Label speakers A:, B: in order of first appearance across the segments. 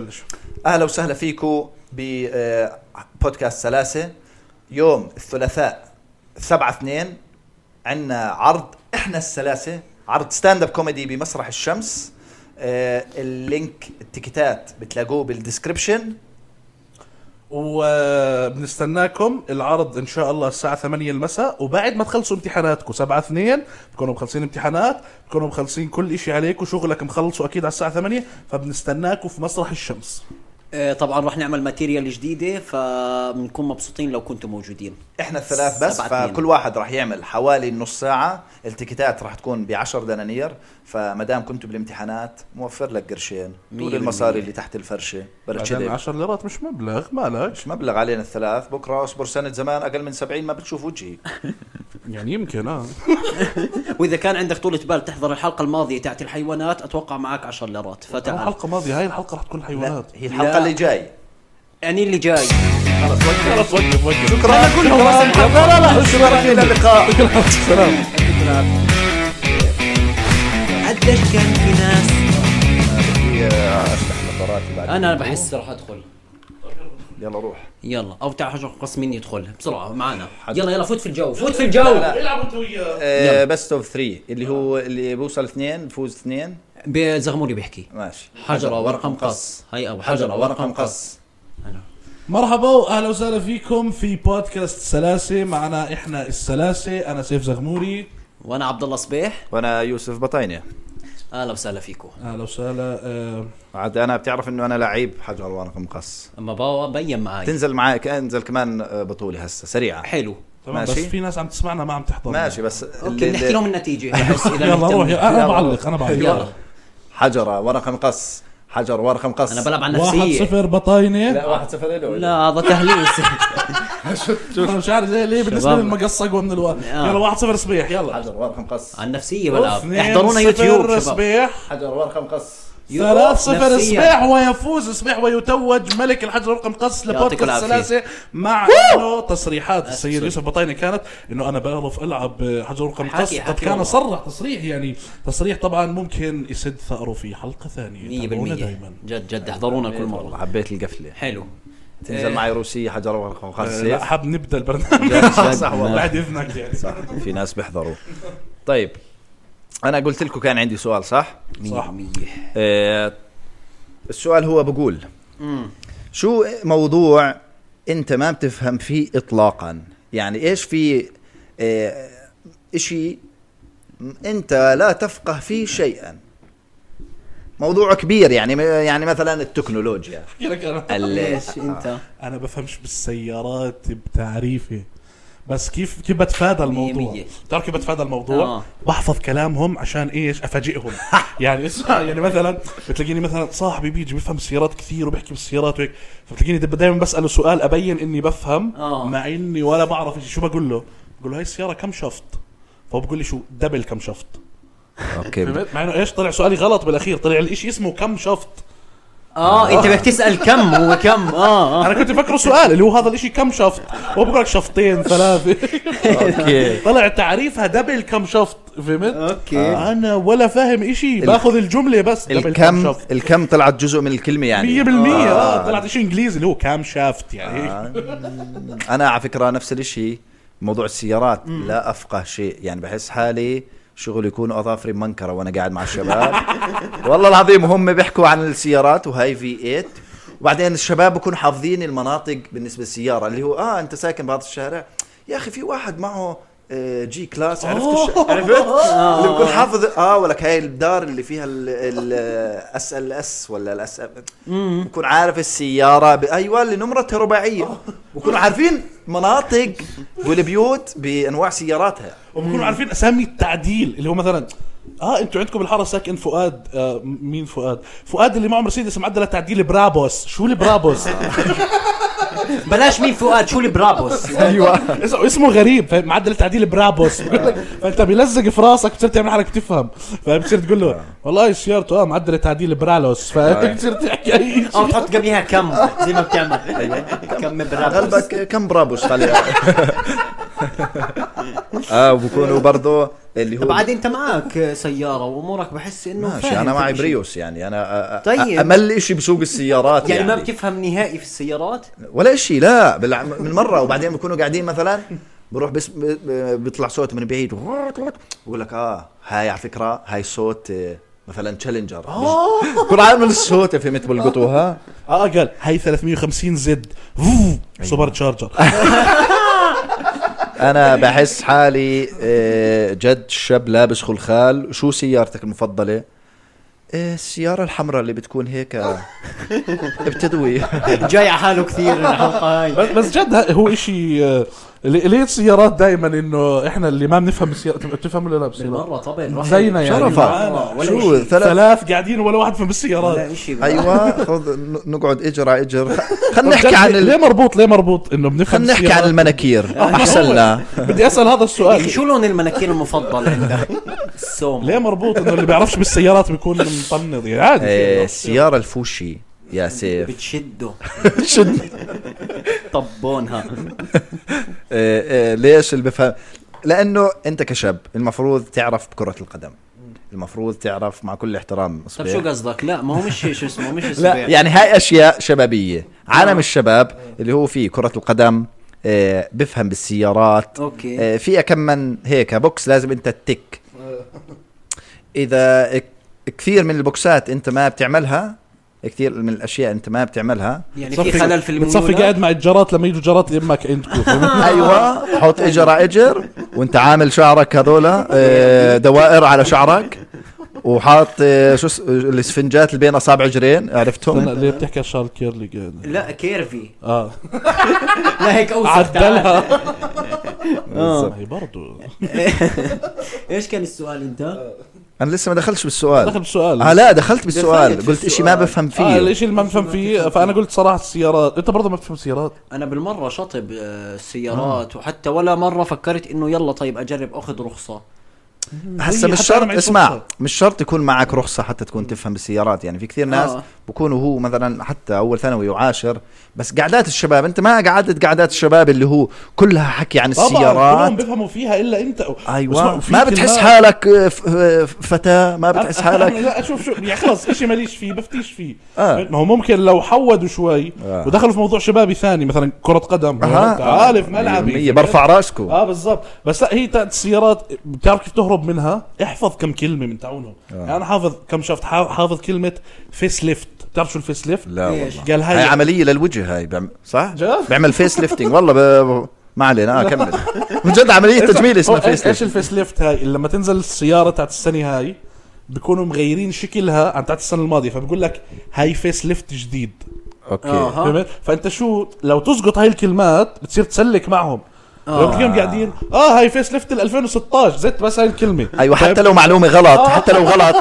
A: بلشوا
B: اهلا وسهلا فيكم ببودكاست سلاسه يوم الثلاثاء 7 2 عندنا عرض احنا السلاسه عرض ستاند اب كوميدي بمسرح الشمس آه، اللينك التيكيتات بتلاقوه بالديسكربشن
A: وبنستناكم العرض ان شاء الله الساعه 8 المساء وبعد ما تخلصوا امتحاناتكم 7 2 بكونوا مخلصين امتحانات بكونوا مخلصين كل شيء عليكم شغلك مخلصوا اكيد على الساعه 8 فبنستناكم في مسرح الشمس
C: آه، طبعا رح نعمل ماتيريال جديده فبنكون مبسوطين لو كنتم موجودين
B: احنا الثلاث بس
C: سبعة اتنين.
B: فكل واحد راح يعمل حوالي نص ساعه التيكيتات راح تكون ب 10 دنانير فما دام كنتوا بالامتحانات موفر لك قرشين
C: مية
B: طول المصاري
C: بالمية.
B: اللي تحت الفرشه
A: بعدين
B: برشلك
A: 10 ليرات مش مبلغ مالك
B: مش مبلغ علينا الثلاث بكره اصبر سنه زمان اقل من 70 ما بتشوف وجهي
A: يعني يمكن اه
C: واذا كان عندك طولة بال تحضر الحلقه الماضيه تاعت الحيوانات اتوقع معك 10 ليرات فتعال
A: الحلقه الماضيه هاي الحلقه رح تكون
B: لا
A: حيوانات
B: هي الحلقه
C: لا.
B: اللي جاي
C: يعني اللي جاي
B: خلص وقف
A: خلص وقف وقف
B: شكرا كلهم لا لا لا شكرا الى اللقاء
A: سلام
C: قديش كان في ناس
B: بدي افتح نظاراتي بعد
C: انا بحس رح ادخل
B: يلا روح
C: يلا او تعال حجر قص مين يدخل بسرعه معنا يلا يلا فوت في الجو فوت في الجو
A: العبوا انت وياه
B: بست اوف 3 اللي هو اللي بوصل اثنين بفوز اثنين
C: بزغموري بيحكي
B: ماشي
C: حجره ورقم قص هي ابو حجره ورقم قص
A: مرحبا واهلا وسهلا فيكم في بودكاست سلاسه معنا احنا السلاسه انا سيف زغموري
C: وانا عبد الله صبيح
B: وانا يوسف بطاينه
C: اهلا وسهلا فيكم
A: اهلا وسهلا آه،
B: عاد انا بتعرف انه انا لعيب حجر ورقه مقص
C: اما بابا بين معي
B: تنزل معك انزل كمان آه، بطوله هسه سريعه
C: حلو
A: تمام بس
B: ماشي.
A: في ناس عم تسمعنا ما عم تحضر
B: ماشي بس اللي-
C: اوكي نحكي لهم النتيجه بس إذا
A: يلا
C: مهتمين.
A: روح انا
B: يلا.
A: بعلق انا بعلق
C: يلا
B: حجره ورقه مقص حجر ورقه مقص
C: انا بلعب على
A: واحد
C: النفسيه
A: صفر بطاينه
B: لا واحد صفر له
C: لا هذا تهليس
A: انا مش عارف إيه، ليه ليه بالنسبه
C: شباب.
A: للمقص اقوى من الواحد
C: آه.
A: يلا واحد صفر صبيح يلا
B: حجر ورقه مقص
C: على النفسيه بلعب
A: اثنين
C: احضرونا
A: صفر
C: يوتيوب شباب
A: صبيح
B: حجر ورقه مقص
C: يوتيوب،
A: ثلاث صفر
C: نفسية.
A: صبيح ويفوز صبيح ويتوج ملك الحجر رقم قص
C: يعطيكم
A: لبودكاست
C: العافية.
A: سلاسة مع انه تصريحات السيد
C: سوري.
A: يوسف بطاينه كانت انه انا بعرف العب حجر رقم
C: حكي-
A: قص قد
C: حكي
A: كان
C: والله.
A: صرح تصريح يعني تصريح طبعا ممكن يسد ثأره في حلقه ثانيه
C: 100%
A: تابعونا دائما
C: جد جد احضرونا كل
B: والله
C: مره
B: حبيت القفله
C: حلو
B: تنزل معي روسيه حجر ورقه مقص
A: إيه. لا
B: سيف.
A: حاب نبدا البرنامج
B: جد، جد.
A: صح والله بعد اذنك يعني
B: صح في ناس بيحضروا طيب انا قلت لكم كان عندي سؤال صح
A: صح.
C: صح منيح
B: آه، السؤال هو بقول شو موضوع انت ما بتفهم فيه اطلاقا يعني ايش في آه، اشي انت لا تفقه فيه شيئا موضوع كبير يعني يعني مثلا التكنولوجيا
A: احكي لك انا
C: ليش انت
A: انا بفهمش بالسيارات بتعريفي بس كيف كيف بتفادى الموضوع
C: مية.
A: بتعرف كيف بتفادى الموضوع
C: آه.
A: بحفظ كلامهم عشان ايش افاجئهم يعني اسمع يعني مثلا بتلاقيني مثلا صاحبي بيجي بيفهم سيارات كثير وبيحكي بالسيارات وهيك فبتلاقيني دب- دايما بساله سؤال ابين اني بفهم
C: آه.
A: مع اني ولا بعرف شيء شو بقول له بقول له هاي السياره كم شفط فهو بقول لي شو دبل كم شفط
B: اوكي
A: مع انه ايش طلع سؤالي غلط بالاخير طلع الاشي اسمه كم شفط
C: اه انت بدك تسال كم هو كم اه آه.
A: انا كنت فكره سؤال اللي هو هذا الاشي كم شفط هو بقول لك شفطين ثلاثه
B: اوكي
A: طلع تعريفها دبل كم شفط فهمت؟
C: اوكي
A: انا ولا فاهم اشي باخذ الجمله بس دبل كم
B: الكم
A: شفط
B: الكم طلعت جزء من الكلمه
A: 100%
B: يعني
A: اه طلعت اشي انجليزي اللي هو كام شافت يعني آه.
B: انا على فكره نفس الشيء موضوع السيارات لا افقه شيء يعني بحس حالي شغل يكون اظافري منكره وانا قاعد مع الشباب والله العظيم هم بيحكوا عن السيارات وهاي في 8 وبعدين الشباب بكون حافظين المناطق بالنسبه للسياره اللي هو اه انت ساكن بهذا الشارع يا اخي في واحد معه آه، جي كلاس عرفت الش... عرفت اللي بكون حافظ اه ولك هاي الدار اللي فيها الاس ال اس ولا الاس بكون عارف السياره ب... ايوه اللي نمرتها رباعيه بكونوا عارفين مناطق والبيوت بانواع سياراتها
A: وبكونوا عارفين اسامي التعديل اللي هو مثلا اه انتوا عندكم بالحاره ساكن فؤاد آه مين فؤاد؟ فؤاد اللي معه مرسيدس معدله تعديل برابوس، شو البرابوس؟
C: بلاش مين فؤاد شو البرابوس
B: ايوه
A: اسمه اسمه غريب فاهم؟ معدل تعديل برابوس بقول لك فانت بيلزق في راسك بتصير تعمل حالك بتفهم فبتصير تقول
B: آه.
A: له والله سيارته اه معدل تعديل برالوس فبتصير تحكي اي
C: او
B: آه.
A: شيء
C: تحط قبلها آه، كم زي ما بتعمل كم برابوس
B: غلبك كم برابوس خلي اه وبكونوا برضه اللي هو
C: بعد انت معك سياره وامورك بحس انه
B: ماشي
C: فاهم
B: انا
C: كل
B: معي
C: شيء.
B: بريوس يعني انا أ- أ-
C: طيب.
B: امل شيء بسوق السيارات
C: يعني
B: يعني,
C: ما بتفهم نهائي في السيارات
B: ولا شيء لا بالع... من مره وبعدين بكونوا قاعدين مثلا بروح بس ب- ب- بيطلع صوت من بعيد بقول لك اه هاي على فكره هاي صوت آه، مثلا تشالنجر كل عامل الصوت فهمت بلقطوها
A: اه قال هي 350 زد
B: أيوة.
A: فوف، سوبر تشارجر
B: انا بحس حالي آه، جد شاب لابس خلخال شو سيارتك المفضله آه، السيارة الحمراء اللي بتكون هيك آه، بتدوي
C: جاي على حاله كثير الحلقه هاي
A: بس بس جد ه- هو اشي آه، ليه ليه السيارات دائما انه احنا اللي ما بنفهم السيارات بتفهم ولا لا بالسيارات
C: بالمره طبعا واحد-
A: طيب. زينا يعني
B: شرفا.
A: معانا.
C: ولا
B: شو
C: شيء.
B: ثلاث
A: ثلاث قاعدين ولا واحد فهم السيارات
C: ولا شيء
B: ايوه خذ ن- نقعد اجر على اجر خلينا
A: طب جد
B: نحكي عن
A: ليه-
B: ال...
A: ليه مربوط ليه مربوط انه بنفهم
B: خلينا نحكي عن
A: السيارات؟
B: المناكير احسننا
A: بدي اسال هذا
C: يا اخي
A: السؤال
C: شو لون المناكير المفضل عندك؟ السوم
A: ليه مربوط انه اللي بيعرفش بالسيارات بيكون مطنط يعني عادي
B: آه، السيارة الفوشي يا سيف
C: بتشده
B: شد
C: طبونها
B: آه، آه، ليش اللي بفهم لانه انت كشاب المفروض تعرف بكرة القدم المفروض تعرف مع كل احترام
C: طب
B: إصبع.
C: شو قصدك؟ لا ما هو مش شو اسمه مش
B: لا
C: السبيع
B: يعني هاي اشياء شبابية عالم الشباب اللي هو فيه كرة القدم آه، بفهم بالسيارات
C: اوكي
B: آه، فيها كم من هيك بوكس لازم انت تتك اذا ك- كثير من البوكسات انت ما بتعملها كثير من الاشياء انت ما بتعملها
C: يعني في خلل في الميول
A: بتصفي قاعد مع الجارات لما يجوا جارات يمك عندكم فهمت؟
B: ايوه حط اجر على اجر وانت عامل شعرك هذولا آه، دوائر على شعرك وحاط آه، شو اس- الاسفنجات اللي بين اصابع اجرين
A: استنى،
B: عرفتهم
A: ليه بتحكي على الشعر كيرلي قاعد
C: لا كيرفي
A: اه
C: لا هيك اوسخ تعال.
A: عدلها
B: بالضبط.
A: هي برضه
C: ايش كان السؤال انت؟
B: انا لسه ما دخلتش
A: دخل
B: بالسؤال
A: بالسؤال
B: اه لا دخلت بالسؤال
C: دخلت
B: قلت شيء ما
C: بالسؤال.
B: بفهم
A: اه
B: فيه
A: الشيء اللي ما بفهم فيه فانا قلت صراحه السيارات انت برضه ما بتفهم سيارات
C: انا بالمره شطب آه، السيارات وحتى ولا مره فكرت انه يلا طيب اجرب اخذ رخصه
A: آه.
B: هسا
A: هي
B: مش
A: حتى أنا
B: شرط
A: معيش
B: اسمع
A: رخصة.
B: مش شرط يكون معك رخصه حتى تكون تفهم بالسيارات يعني في كثير ناس
C: آه.
B: بكونوا هو مثلا حتى اول ثانوي وعاشر بس قعدات الشباب انت ما قعدت قعدات الشباب اللي هو كلها حكي عن
A: طبعا
B: السيارات
A: كلهم بيفهموا فيها الا انت
B: ايوه
A: اسمع،
B: ما
A: في
B: بتحس
A: كلمات-
B: حالك آه، ف- آه، فتاه ما بتحس حالك
A: لا شوف شوف يعني خلص شيء ماليش فيه بفتيش فيه
B: آه.
A: ما هو ممكن لو حودوا شوي
B: آه.
A: ودخلوا في موضوع شبابي ثاني مثلا كره قدم
B: أها.
A: تعال في ملعبي
B: مية برفع راسكم
A: اه بالضبط بس لا هي تاعت السيارات بتعرف كيف تهرب منها احفظ كم كلمه من تعاونهم
B: آه.
A: يعني انا حافظ كم شفت حا- حافظ كلمه فيس ليفت بتعرف شو الفيس ليفت
B: لا
C: إيش؟
B: والله
A: قال
B: هاي
A: هاي
B: عمليه للوجه هاي بعم... صح
A: جد؟
B: بعمل فيس ليفتنج والله ب... ب- ما علينا اه كمل من جد عمليه تجميل اسمها
A: هو
B: فيس
A: ايش
B: ليفتنج
A: الفيس ليفت هاي اللي لما تنزل السياره تاعت السنه هاي بيكونوا مغيرين شكلها عن تاعت السنه الماضيه فبقول لك هاي فيس ليفت جديد
B: اوكي
C: اها
A: فهمت فانت شو لو تزقط هاي الكلمات بتصير تسلك معهم
C: آه.
A: لو تلاقيهم قاعدين اه هاي فيس ليفت ال 2016 زدت بس هاي الكلمه
B: ايوه
A: طيب،
B: حتى لو معلومه غلط حتى لو غلط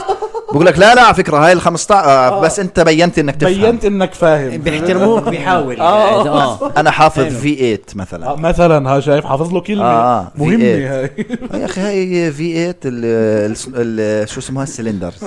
B: بقول لك لا لا على فكره هاي ال 15 آه، بس انت بينت انك تفهم
A: بينت انك فاهم
C: بيحترموك بيحاول
A: آه.
C: اه
B: انا حافظ في 8 مثلا
A: آه مثلا ها شايف حافظ له كلمه
B: آه، آه،
A: مهمه
B: V8.
C: إيه؟
A: هاي
B: يا اخي هاي في 8 ال- ال- ال- شو اسمها السلندرز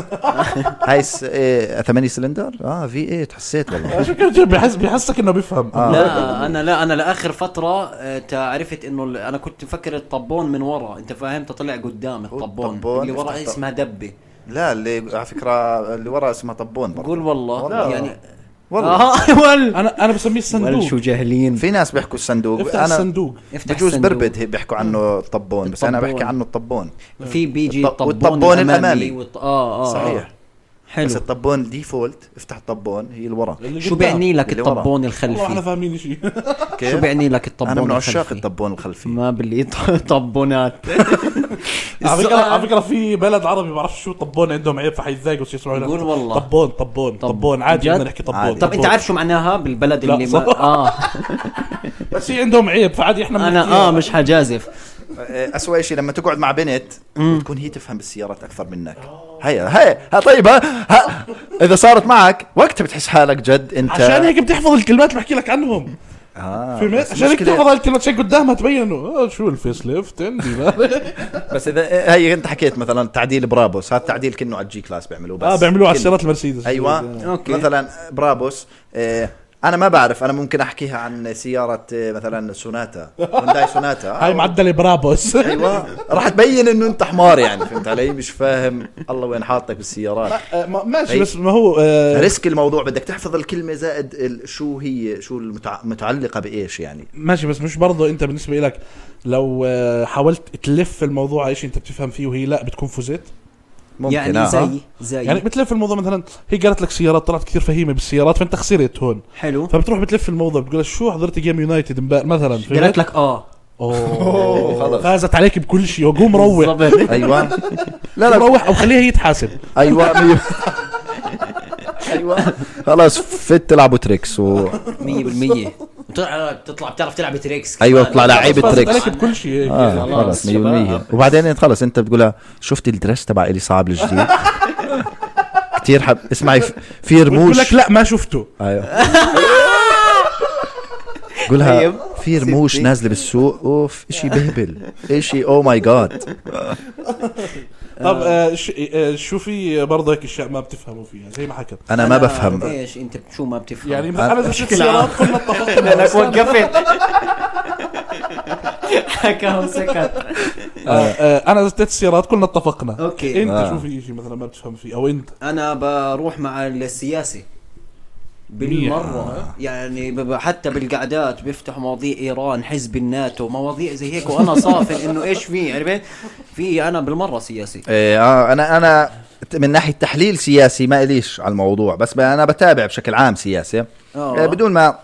B: هاي 8 سلندر اه في 8 حسيت والله
A: عشان كده بحس بحسك انه بيفهم
B: آه.
C: لا انا لا انا لاخر فتره آه، تا- عرفت انه ال- انا كنت مفكر الطبون من ورا انت فاهم تطلع قدام الطبون
B: الطبون
C: اللي ورا
B: يفتح طب-
C: اسمها دبه
B: لا اللي على فكره اللي ورا اسمها طبون برضه
C: قول والله
B: والله.
C: يعني
B: والله
C: آه، ول
A: انا انا بسميه الصندوق
C: جاهلين
B: في ناس بيحكوا الصندوق
A: افتح
B: انا
A: الصندوق
C: افتح
B: بجوز
C: الصندوق. آه.
B: بربد هي بيحكوا عنه الطبون بس انا
C: الطبون.
B: بحكي عنه الطبون
C: في بيجي
B: والط-
C: الطبون,
B: والطبون الأمامي.
C: والط... اه اه آه.
B: صحيح
C: حلو
B: بس الطبون ديفولت افتح الطبون هي الورا
A: اللي
C: شو
A: قدام.
C: بيعني لك
B: اللي ورا.
C: الطبون
A: والله احنا
C: الخلفي
A: فاهمين شيء
C: شو بيعني لك الطبون
B: انا من عشاق
C: الخلفي؟
B: الطبون الخلفي
C: ما باللي طبونات
A: على فكره على فكره في بلد عربي ما بعرفش شو طبون عندهم عيب فحيتضايقوا بس يسمعوا لك
C: قول والله.
A: طبون طبون
C: طب-
A: طبون عادي
C: جد؟
A: بدنا نحكي طبون
B: عادي.
C: طب انت
A: طبون.
C: عارف شو معناها بالبلد
A: لا،
C: اللي ما...
A: صح.
C: اه
A: بس هي عندهم عيب فعادي احنا
C: انا
A: بنحكيها.
C: اه مش حجازف
B: آه، اسوأ شيء لما تقعد مع بنت وتكون هي تفهم بالسيارات اكثر منك هيا هيا ها طيب ها, ها اذا صارت معك وقتها بتحس حالك جد انت
A: عشان هيك بتحفظ الكلمات اللي بحكي لك عنهم
B: آه
A: فهمت
B: بس
A: عشان هيك
B: مشكلة-
A: بتحفظ الكلمات شيء قدامها تبينوا آه شو الفيس ليفت عندي ما-
B: بس اذا هي انت حكيت مثلا تعديل برابوس هذا تعديل كنه على الجي كلاس آه، بيعملوه بس
A: اه آه، بيعملوه على
B: كأنه.
A: السيارات المرسيدس
B: ايوه
C: أوكي.
B: مثلا برابوس آه، انا ما بعرف انا ممكن احكيها عن سياره آه، مثلا سوناتا هونداي سوناتا
A: هاي معدل برابوس
B: ايوه راح تبين انه انت حمار يعني فهمت علي مش فاهم الله وين حاطك بالسيارات
A: آه، ما-
B: أيوة.
A: ماشي بس ما هو آه،
B: ريسك الموضوع بدك تحفظ الكلمه زائد ال- شو هي شو المتع- متعلقه بايش يعني
A: ماشي بس مش برضه انت بالنسبه لك لو آه، حاولت تلف الموضوع على شيء انت بتفهم فيه وهي لا بتكون فزت
B: أيوة. ممكن
C: يعني
B: آه.
C: زي زي
A: يعني بتلف الموضوع مثلا هي قالت لك سيارات طلعت كثير فهيمه بالسيارات فانت خسرت هون
C: حلو
A: فبتروح بتلف الموضوع بتقول شو حضرت جيم يونايتد امبارح مثلا فهمت؟
C: قالت لك اه
A: اوه
B: خلص.
A: فازت عليك بكل شيء وقوم روح
C: بالضبط.
B: ايوه لا لا
A: روح او خليها هي تحاسب
B: ايوه مية- ايوه خلاص فت تلعبوا تريكس و
C: 100% بتطلع تطلع بتعرف تلعب تريكس
B: أيوة، بتطلع لعيب
A: فازت
B: التريكس.
A: عليك بكل شيء
B: آه
C: خلاص،
B: خلاص 100%
C: شباب.
B: وبعدين خلص انت بتقولها شفت الدرس تبع الي صعب الجديد كثير حب اسمعي في- في
A: بتقول
B: رموش
A: لك لا ما شفته
B: ايوه قولها
D: طيب.
B: في رموش
D: ستي.
B: نازله بالسوق اوف اشي بهبل oh اشي او ماي جاد
A: طب آه، ش- آه، شو في برضه هيك اشياء ما بتفهموا فيها زي ما حكت
B: انا ما بفهم
C: ايش انت شو ما بتفهم
A: يعني
C: يعني
B: آه.
A: مثلا انا اذا شفت
D: بشكل عام.
A: سيارات كلنا اتفقنا
D: لانك
A: بس أنا-
D: وقفت
C: حكى وسكت
A: آه، آه، انا اذا شفت سيارات كلنا اتفقنا
C: أوكي.
A: انت
B: آه.
A: شو في شيء مثلا ما بتفهم فيه او انت
C: انا بروح مع السياسه بالمره يعني ب- ب- حتى بالقعدات بيفتحوا مواضيع ايران حزب الناتو مواضيع زي هيك وانا صافن انه ايش في عرفت في انا بالمره سياسي
B: إيه، آه، انا انا ت- من ناحيه تحليل سياسي ما اليش على الموضوع بس ب- انا بتابع بشكل عام سياسه
C: آه.
B: آه، بدون ما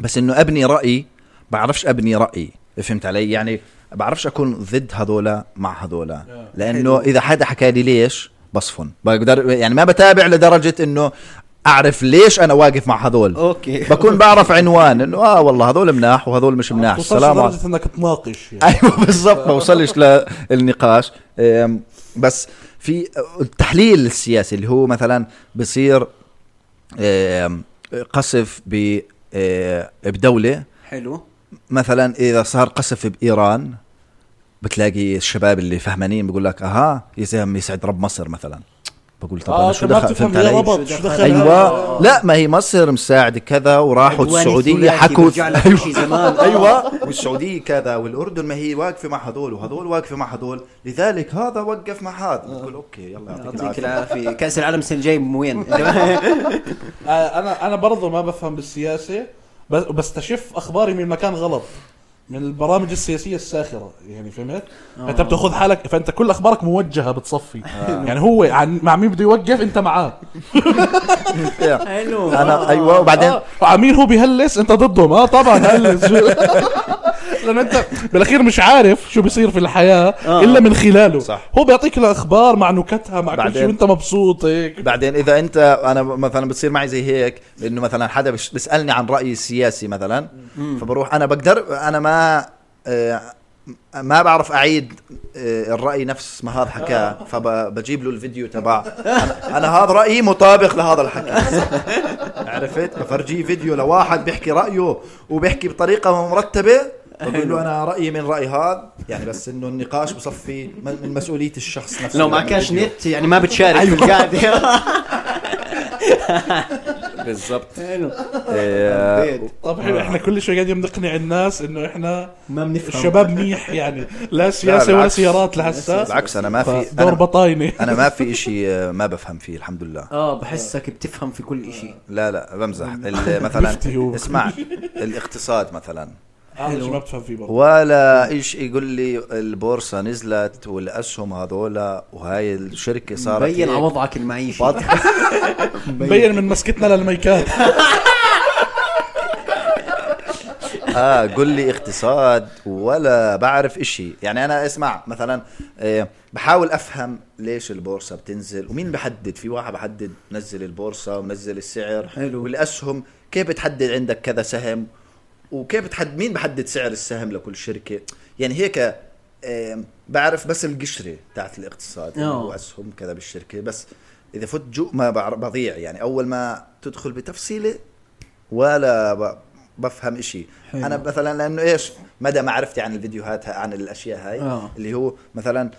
B: بس انه ابني رايي بعرفش ابني رايي فهمت علي يعني بعرفش اكون ضد هذولا مع هذولا لانه اذا حدا حكى لي ليش بصفن بقدر يعني ما بتابع لدرجه انه اعرف ليش انا واقف مع هذول
C: اوكي
B: بكون بعرف عنوان انه اه والله هذول مناح وهذول مش مناح
A: توصلش
B: السلام عليكم
A: لدرجه انك تناقش يعني.
B: ايوه بالضبط ما وصلش للنقاش أم، بس في التحليل السياسي اللي هو مثلا بصير أم، قصف ب أه، بدولة
C: حلو
B: مثلا إذا صار قصف بإيران بتلاقي الشباب اللي فهمانين بيقول لك أها يا زلمة يسعد رب مصر مثلا بقول طب أنا
A: اه
B: شو
A: شو ما
B: دخل
A: بتفهم
B: فهمت
A: يا
B: علي؟
A: ربط شو دخل
B: أيوة لا ما هي مصر مساعدة كذا وراحوا
C: عدوان
B: السعودية
C: الثلاثي
B: حكوا أيوة.
C: برجع لك شيء زمان
B: ايوه والسعوديه كذا والاردن ما هي واقفه مع هذول وهذول واقفه مع هذول لذلك هذا وقف مع هذا بتقول اوكي يلا
C: يعطيك العافيه كاس العالم السنه الجاي وين
B: أيوة.
A: آه، انا انا برضه ما بفهم بالسياسه بس بستشف اخباري من مكان غلط من البرامج السياسيه الساخره يعني فهمت؟
B: آه.
A: انت بتاخذ حالك فانت كل اخبارك موجهه بتصفي يعني هو عن مع مين بده يوقف انت معاه
C: حلو
B: انا ايوه وبعدين
A: آه، وعن مين هو بيهلس انت ضدهم اه طبعا هلس لان انت بالاخير مش عارف شو بيصير في الحياه الا من خلاله
B: آه. صح.
A: هو بيعطيك الاخبار مع نكتها مع كل
B: بعدين.
A: شيء وانت مبسوط هيك
B: بعدين اذا انت انا مثلا بتصير معي زي هيك انه مثلا حدا بش- بيسالني عن رايي السياسي مثلا فبروح انا بقدر انا ما آه، ما بعرف اعيد آه، الراي نفس ما هذا حكاه فبجيب له الفيديو تبع انا, أنا هذا رايي مطابق لهذا الحكي عرفت بفرجيه فيديو لواحد بيحكي رايه وبيحكي بطريقه مرتبه بقول له انا رايي من راي هذا يعني بس انه النقاش بصفي من من مسؤوليه الشخص نفسه
C: لو
B: يعني
C: معكاش
B: الفيديو.
C: نت يعني ما بتشارك
B: أيوة.
C: في القعده
B: بالضبط
C: حلو
B: آه،
A: طب حلو احنا كل شوي قاعدين بنقنع الناس انه احنا
C: ما بنفهم
A: الشباب منيح يعني لا سياسه ولا
B: بالعكس.
A: سيارات لهسه
B: بالعكس انا ما في
A: دور
B: أنا,
A: بطاينه
B: انا ما في إشي آه، ما بفهم فيه الحمد لله
C: اه بحسك بتفهم في كل إشي
B: لا لا بمزح ال- مثلا
A: مفتي هو.
B: اسمع الاقتصاد مثلا
A: هذا شيء ما بتفهم فيه برضه
B: ولا إيش يقول لي البورصه نزلت والاسهم هذولا وهاي الشركه صارت
C: بين على
B: هيك.
C: وضعك المعيشي
B: واضح
A: مبين من مسكتنا للميكات
B: اه قل لي اقتصاد ولا بعرف إشي يعني انا اسمع مثلا آه، بحاول افهم ليش البورصه بتنزل ومين بحدد في واحد بحدد نزل البورصه ومنزل السعر
C: حلو.
B: والاسهم كيف بتحدد عندك كذا سهم وكيف بتحدد مين بحدد سعر السهم لكل شركه يعني هيك آه، بعرف بس القشره تاعت الاقتصاد
C: آه.
B: هو اسهم كذا بالشركه بس اذا فت جو ما بعر- بضيع يعني اول ما تدخل بتفصيله ولا ب... بفهم اشي
C: حلو.
B: انا مثلا لانه ايش مدى معرفتي عن الفيديوهات ه- عن الاشياء هاي
C: آه.
B: اللي هو مثلا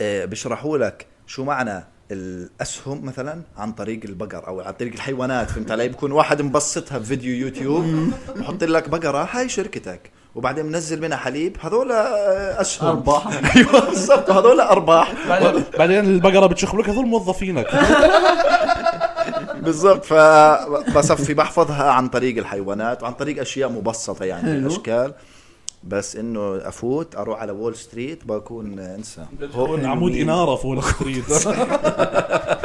B: آه، بيشرحوا لك شو معنى الاسهم مثلا عن طريق البقر او عن طريق الحيوانات فهمت علي بكون واحد مبسطها بفيديو يوتيوب بحط لك بقره هاي شركتك وبعدين منزل منها حليب هذول اسهم
C: أرباح.
B: ايوه بالضبط هذول ارباح
A: بعدين- بعدين البقره بتشخ لك هذول موظفينك
B: بالضبط فبصفي بحفظها عن طريق الحيوانات وعن طريق اشياء مبسطه يعني
C: حلو.
B: اشكال بس انه افوت اروح على وول ستريت بكون انسى
A: هون عمود اناره فوق الخريطه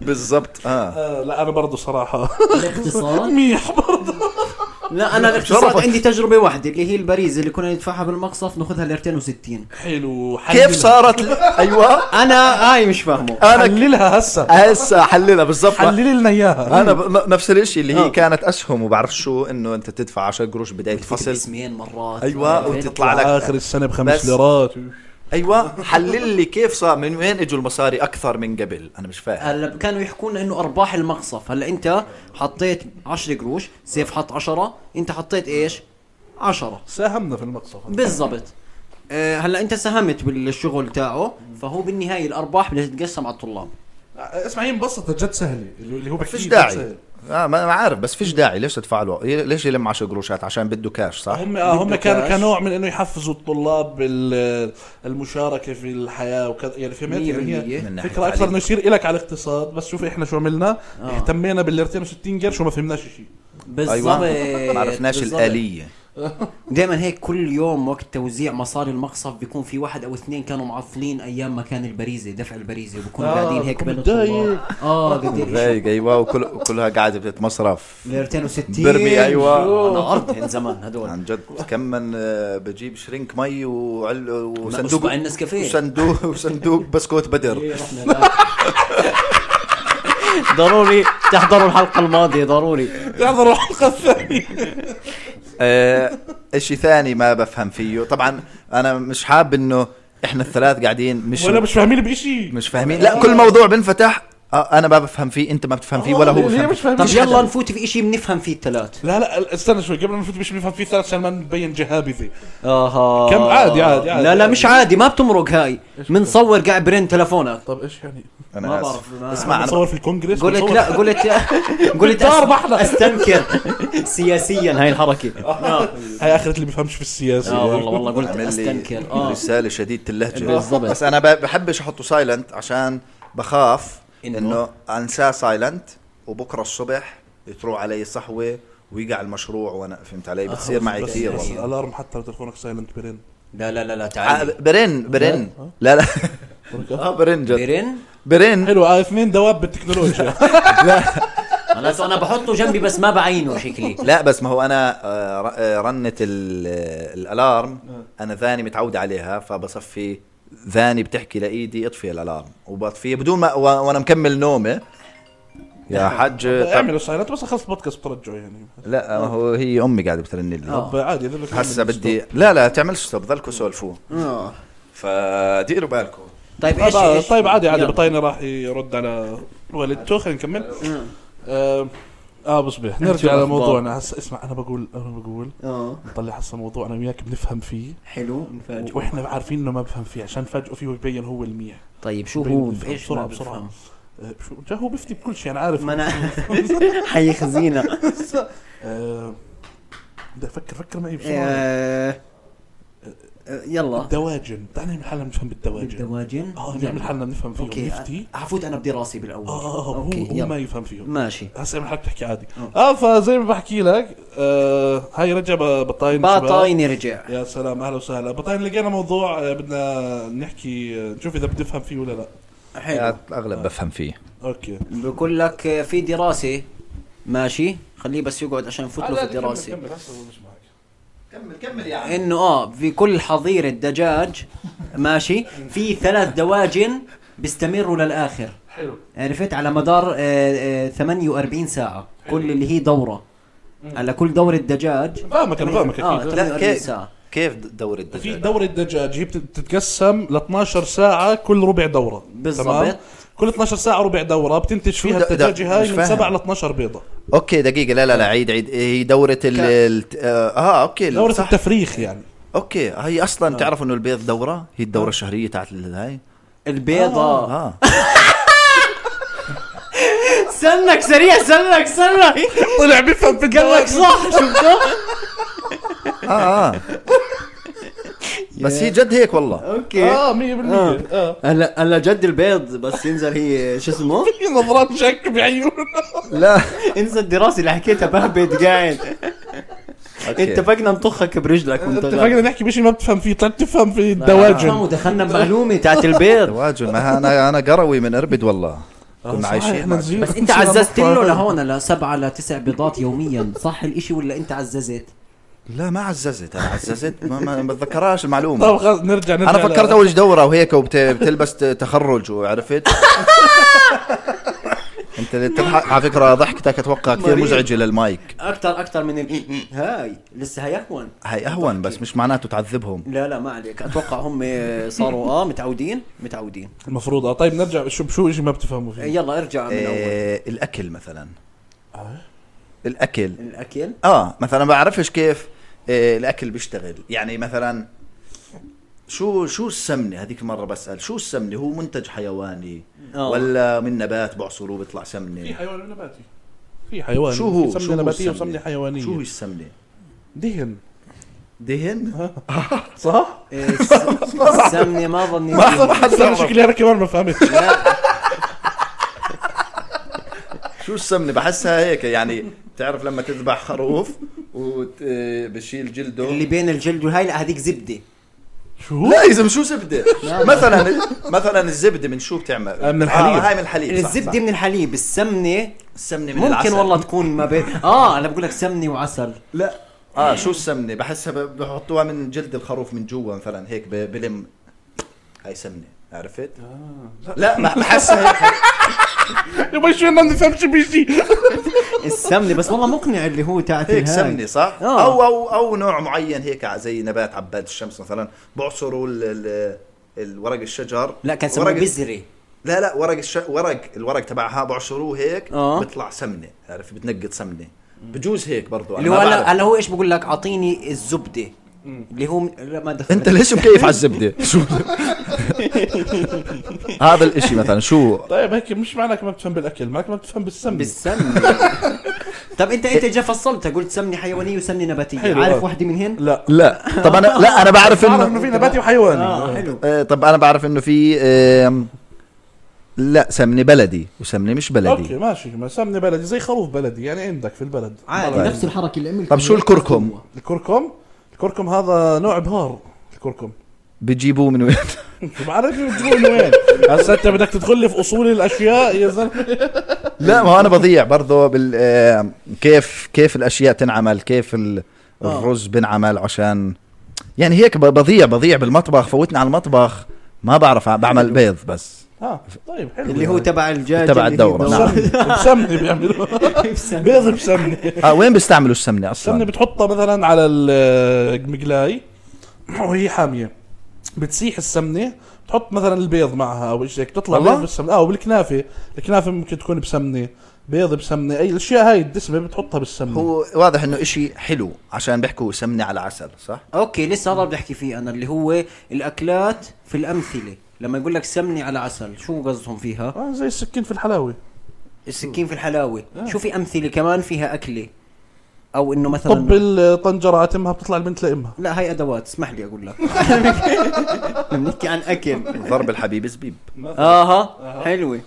B: بالضبط اه
A: آه، لا انا برضه صراحه
C: الاقتصاد
A: منيح برضه
C: لا انا الاقتصاد
B: شرفك.
C: عندي تجربه واحده اللي هي البريز اللي كنا ندفعها بالمقصف ناخذها ل 260
A: حلو
B: كيف
A: حللها.
B: صارت ايوه
C: انا هاي آه، مش فاهمه
B: انا
A: حللها هسه
B: هسه احللها بالضبط
A: حلل لنا أمم. اياها
B: انا ب- نفس الشيء اللي
C: آه.
B: هي كانت اسهم وبعرف شو انه انت تدفع 10 قروش بدايه الفصل
C: اسمين مرات
B: أيوة، وتطلع
C: آه.
B: لك.
A: اخر السنه بخمس
B: بس-
A: ليرات
B: ايوه حلل لي كيف صار من وين اجوا المصاري اكثر من قبل انا مش فاهم
C: هلا كانوا يحكوا لنا انه ارباح المقصف هلا انت حطيت 10 قروش سيف حط 10 انت حطيت ايش 10
A: ساهمنا في المقصف
C: بالضبط آه، هلا انت ساهمت بالشغل تاعه فهو بالنهايه الارباح بدها تتقسم على الطلاب
A: اسمع هي مبسطه جد سهله اللي هو بحكي
B: فيش
A: جد
B: داعي
A: سهل.
B: اه ما ما عارف بس فيش داعي ليش تدفع له ي- ليش يلم 10 قروشات عشان بده كاش صح
A: هم آه هم
C: بده
A: كانوا
C: كاش.
A: كنوع من انه يحفزوا الطلاب بالمشاركه في الحياه وكذا يعني فهمت
C: مية
A: يعني
C: بالمية.
B: من
A: هي
B: ناحية
A: فكره اكثر
B: تعليم.
A: انه يصير لك على الاقتصاد بس شوف احنا شو عملنا
C: آه.
A: اهتمينا بال 260 قرش وما فهمناش شيء
C: بالضبط
B: ايوه ما عرفناش الاليه
C: دائما هيك كل يوم وقت توزيع مصاري المقصف بيكون في واحد او اثنين كانوا معطلين ايام ما كان البريزه دفع البريزه وبكونوا
A: آه،
C: قاعدين هيك
A: بكون
C: بين الطلاب
A: متضايق.
C: اه قاعدين
B: هيك ايوه وكل كلها قاعده بتتمصرف
C: 260
B: برمي، أيوة.
C: شو؟ انا عرضهن زمان هدول
B: عن جد كم من آه، بجيب شرينك مي وعل وصندوق
C: أسبوع النسكافيه. إيه.
B: وصندوق وصندوق بسكوت بدر
C: ضروري تحضروا الحلقه الماضيه ضروري
A: احضروا الحلقه الثانيه
B: آه، اشي ثاني ما بفهم فيه طبعا انا مش حاب انه احنا الثلاث قاعدين مش
A: ولا مش فاهمين بشيء
B: مش فاهمين لا كل موضوع بنفتح آه، انا ما بفهم فيه انت ما بتفهم فيه ولا هو
A: ليه
B: بفهم
A: مش
B: فيه.
A: فاهمين
C: طب
A: شيء؟
C: يلا نفوت في شيء بنفهم فيه الثلاث
A: لا لا استنى شوي قبل ما نفوت مش بيفهم فيه ثلاث عشان ما نبين جهابذه
C: اها
A: كم عادي- عادي- عادي.
C: لا لا مش عادي ما بتمرق هاي منصور قاعد برن تلفونك
A: طب ايش يعني؟
C: ما
B: انا
C: بعرف،
B: اسف
C: ما-
B: اسمع انا
A: نصور في الكونغرس
C: قلت
A: نصور-
C: لا قلت قلت
A: دار بحلة.
C: استنكر سياسيا هاي الحركه
A: هاي اخرة اللي بفهمش في السياسه
B: آه،
C: اه والله والله قلت
B: عمل لي
C: استنكر اه
B: رساله شديده اللهجه
C: بالضبط.
B: بس انا ب- بحبش احطه سايلنت عشان بخاف
C: إنه؟
B: انه, إنه انساه سايلنت وبكره الصبح تروح علي صحوه ويقع المشروع وانا فهمت علي بتصير معي
A: بس-
B: كثير
A: بس
B: والله
A: الارم حتى لو تلفونك سايلنت برين
C: لا لا لا لا
B: ع-
A: آه،
C: تعال
B: برن برن لا لا اه برن جد
C: برن
B: برن
A: حلو آه، اثنين دواب بالتكنولوجيا
C: خلاص انا بحطه جنبي بس ما بعينه شكلي
B: لا بس ما هو انا آه، ر- آه، رنه ال- آه، الالارم انا ذاني متعود عليها فبصفي ذاني بتحكي لايدي اطفي الالارم وبطفيه بدون ما و- وانا مكمل نومي يا حج
C: طيب.
B: طب-
A: اعملوا سايلنت بس خلص بودكاست بترجعه يعني
B: لا ما هو هي امي قاعده بترن لي
C: آه.
A: طب عادي اذا بدك
B: هسه
A: تعمل
B: بدي لا لا تعملش ستوب ضلكم سولفوا
C: آه.
B: فديروا بالكم
C: طيب
A: آه،
C: ايش
A: بقى-
C: إيش-
A: طيب عادي عادي
C: يلا.
A: بطيني راح يرد على والدته خلينا نكمل
C: آه.
A: آه، اه بصبح
C: نحكي
A: نرجع
C: بالأخبار.
A: لموضوعنا هسه اسمع انا بقول انا بقول
C: اه
A: نطلع هسه موضوع انا وياك بنفهم فيه
C: حلو نفاجئ
A: واحنا عارفين انه ما بفهم فيه عشان فجأة فيه ويبين هو الميح
C: طيب شو
A: بين-
C: هو
A: بفهم
C: ايش
A: بسرعة-
C: ما
A: بسرعة.
C: بفهم؟
A: آه، شو جا هو بفتي بكل شيء انا عارف
C: ما انا حيخزينا
A: آه، بدي افكر فكر معي بسرعه
C: آه، آه، يلا
A: الدواجن تعال نعمل حالنا بنفهم بالدواجن
C: الدواجن
A: اه نعمل حالنا بنفهم فيهم
C: اوكي
A: نفتي
C: أ- حفوت انا براسي بالاول
A: اه آه، آه، هو
C: اوكي
A: هو ما
C: يلا
A: يفهم فيهم
C: ماشي
A: هسه اعمل حالك تحكي عادي
C: آه.
A: اه فزي ما بحكي لك آه هاي رجع ب- بطاين شباب.
C: باطايني رجع
A: يا سلام اهلا وسهلا بطاين لقينا موضوع آه، بدنا نحكي آه، نشوف اذا بدي افهم فيه ولا لا
C: حلو
B: الاغلب بفهم فيه
A: اوكي
C: بقول لك آه، في دراسه ماشي خليه بس يقعد عشان نفوت له في الدراسه
B: كمل كمل يا
C: انه اه في كل حظيره دجاج ماشي في ثلاث دواجن بيستمروا للاخر
A: حلو
C: عرفت على مدار آه، آه، 48 ساعه كل اللي هي دوره على كل دوره دجاج
A: فاهمك انا فاهمك
C: اه
B: آه،
A: اكيد
C: 48 ساعه
B: كيف دور الدجاج
A: في دورة دجاج هي بت- بتتقسم ل 12 ساعة كل ربع دورة
C: بالضبط.
A: تمام؟ كل 12 ساعة ربع دورة بتنتج فيها
B: ده- ده-
A: الدجاجة
B: مش
A: هاي من
B: فاهم.
A: 7 ل 12 بيضة
B: اوكي دقيقة لا لا لا عيد عيد هي دورة ال
C: ك-
B: الت- آه, اه اوكي ال-
A: دورة
B: صح.
A: التفريخ يعني
B: اوكي هي اصلا تعرف انه البيض دورة هي الدورة الشهرية تاعت ال- هاي
C: البيضة
B: اه
C: استنك سريع استنك استنك
A: طلع بفهم في
C: قال لك صح شفته
B: اه اه بس هي جد هيك والله
C: اوكي
A: اه 100%
B: آه.
A: اه
C: آه. هلا هلا جد البيض بس ينزل هي شو اسمه
A: في نظرات شك بعيونه
B: لا
C: انسى الدراسه اللي حكيتها بهبد قاعد
B: أوكي.
C: اتفقنا نطخك برجلك وانت
A: اتفقنا نحكي بشيء ما بتفهم فيه طلعت تفهم في
C: دواجن
A: الدواجن
C: ودخلنا بمعلومه تاعت البيض
B: تواجد ما انا انا قروي من اربد والله
A: آه،
B: كنا عايشين معك.
C: بس انت عززت له لهون لسبعه لتسع بيضات يوميا صح الاشي ولا انت عززت؟
B: لا ما عززت انا عززت ما, ما ما بتذكرهاش المعلومه
A: طب خلص طيب، نرجع نرجع
B: انا فكرت اول إيش دوره وهيك وبتلبس تخرج وعرفت انت اللي بتضحك على فكره ضحكتك اتوقع كثير
C: مريض.
B: مزعجه للمايك
C: اكثر اكثر من ال هاي لسه هي اهون
B: هي اهون بس مش معناته تعذبهم
C: لا لا ما عليك اتوقع هم صاروا اه متعودين متعودين
A: المفروض اه طيب نرجع شو شو شيء ما بتفهموا
B: أيوة.
A: فيه
C: يلا ارجع من اول
B: إيه الاكل مثلا الاكل
C: الاكل
B: اه مثلا بعرفش كيف آه، الاكل بيشتغل يعني مثلا شو شو السمنه هذيك المره بسال شو السمنه هو منتج حيواني
C: آه.
B: ولا من نبات بعصروه بيطلع سمنه
A: في حيوان نباتي في حيوان
B: شو هو
A: في
B: شو
A: سمنه
B: هو
A: نباتيه
B: السمنة؟
A: وسمنه حيوانيه
B: شو هي السمنه
A: دهن
B: دهن
A: صح؟
C: إيه، الس- السمنه ما ظني
B: ما
C: فيها.
B: حد
A: بس انا
B: بيعرف.
A: شكلي انا كمان ما فهمت
B: شو السمنه بحسها هيك يعني تعرف لما تذبح خروف وبشيل جلده
C: اللي بين الجلد والهاي لا هذيك زبده
A: شو؟
B: لا يا زلمه شو زبده
C: لا.
B: مثلا مثلا الزبده من شو بتعمل
A: آه، من الحليب.
B: آه هاي من الحليب صح، صح.
C: الزبده من الحليب السمنه
B: السمنه من
C: ممكن
B: العسل.
C: والله تكون ما بين اه انا بقول لك سمنه وعسل
B: لا
C: إيه.
B: اه شو السمنه بحسها ب- بحطوها من جلد الخروف من جوا مثلا هيك ب- بلم هاي سمنه عرفت؟ آه، لا ما بحسها هيك
A: يا ما شو انا ما بنفهمش بيجي
C: السمنه بس والله مقنع اللي هو تاعت
B: هيك
C: الهاي.
B: سمنه صح؟
C: آه.
B: او او او نوع معين هيك ع- زي نبات عباد الشمس مثلا بعصروا ال ال الورق الشجر
C: لا كان سموه
B: ورق-
C: بزري
B: لا لا ورق الش... ورق الورق تبعها بعصروه هيك
C: آه.
B: بيطلع سمنه عرفت بتنقط سمنه بجوز هيك برضو أنا
C: اللي هو
B: ما
C: هلا
B: بعرف.
C: هلا هو ايش بقول لك اعطيني الزبده اللي هو م- لا ما دخل
B: انت ليش مكيف على الزبده؟ شو هذا الاشي مثلا شو
A: طيب هيك مش معناك ما بتفهم بالاكل معناك ما بتفهم بالسمنه
C: بالسمنه طب انت
B: إيه.
C: انت جا فصلتها قلت سمنه حيوانيه وسمنه نباتيه
A: حلو،
C: عارف
A: آه.
C: وحده منهن؟
A: لا
B: لا طب انا لا انا بعرف
A: بعرف انه
B: انه
A: في نباتي وحيواني
C: اه حلو
B: آه، طب انا بعرف انه في آم، لا سمنه بلدي وسمنه مش
A: اوكي
B: بلدي
A: ماشي ما سمنه بلدي زي خروف بلدي يعني عندك في البلد
C: عادي
B: طيب.
C: نفس الحركه اللي عملت
B: طب شو الكركم
A: الكركم الكركم هذا نوع بهار الكركم
B: بتجيبوه من وين
A: ما عرفت بتجيبوه من وين هسا انت بدك تدخل لي في اصول الاشياء يا زلمه
B: لا ما هو انا بضيع برضه بال آم، كيف كيف الاشياء تنعمل كيف ال-
C: آه.
B: الرز بنعمل عشان يعني هيك ب- بضيع بضيع بالمطبخ فوتني على المطبخ ما بعرف ع- بعمل بيض بس
A: اه طيب حلو
C: اللي هو تبع الدجاج
B: تبع
C: اللي هي
B: الدورة.
C: الدورة.
B: نعم.
A: بسمنه بسمنه بيعملوها
C: بسمنة.
A: بيض بسمنه
B: اه وين بيستعملوا السمنه
A: السمنه
B: اصلا
A: بتحطها مثلا على المقلاي وهي حاميه بتسيح السمنه بتحط مثلا البيض معها او شيء هيك بتطلع
B: والله؟
A: بيض بالسمنه اه وبالكنافه الكنافه ممكن تكون بسمنه بيض بسمنه اي الاشياء هاي الدسمه بتحطها بالسمنه
B: هو واضح انه اشي حلو عشان بيحكوا سمنه على عسل صح
C: اوكي لسه هذا بدي احكي فيه انا اللي هو الاكلات في الامثله لما يقول لك سمنه على عسل شو قصدهم فيها
A: آه زي السكين في الحلاوه
C: السكين في الحلاوه شو في امثله كمان فيها اكله او انه مثلا
A: طب الطنجره اتمها بتطلع البنت لامها
C: لا هاي ادوات اسمح لي اقول لك بنحكي عن اكل
B: ضرب الحبيب زبيب
C: اها حلوه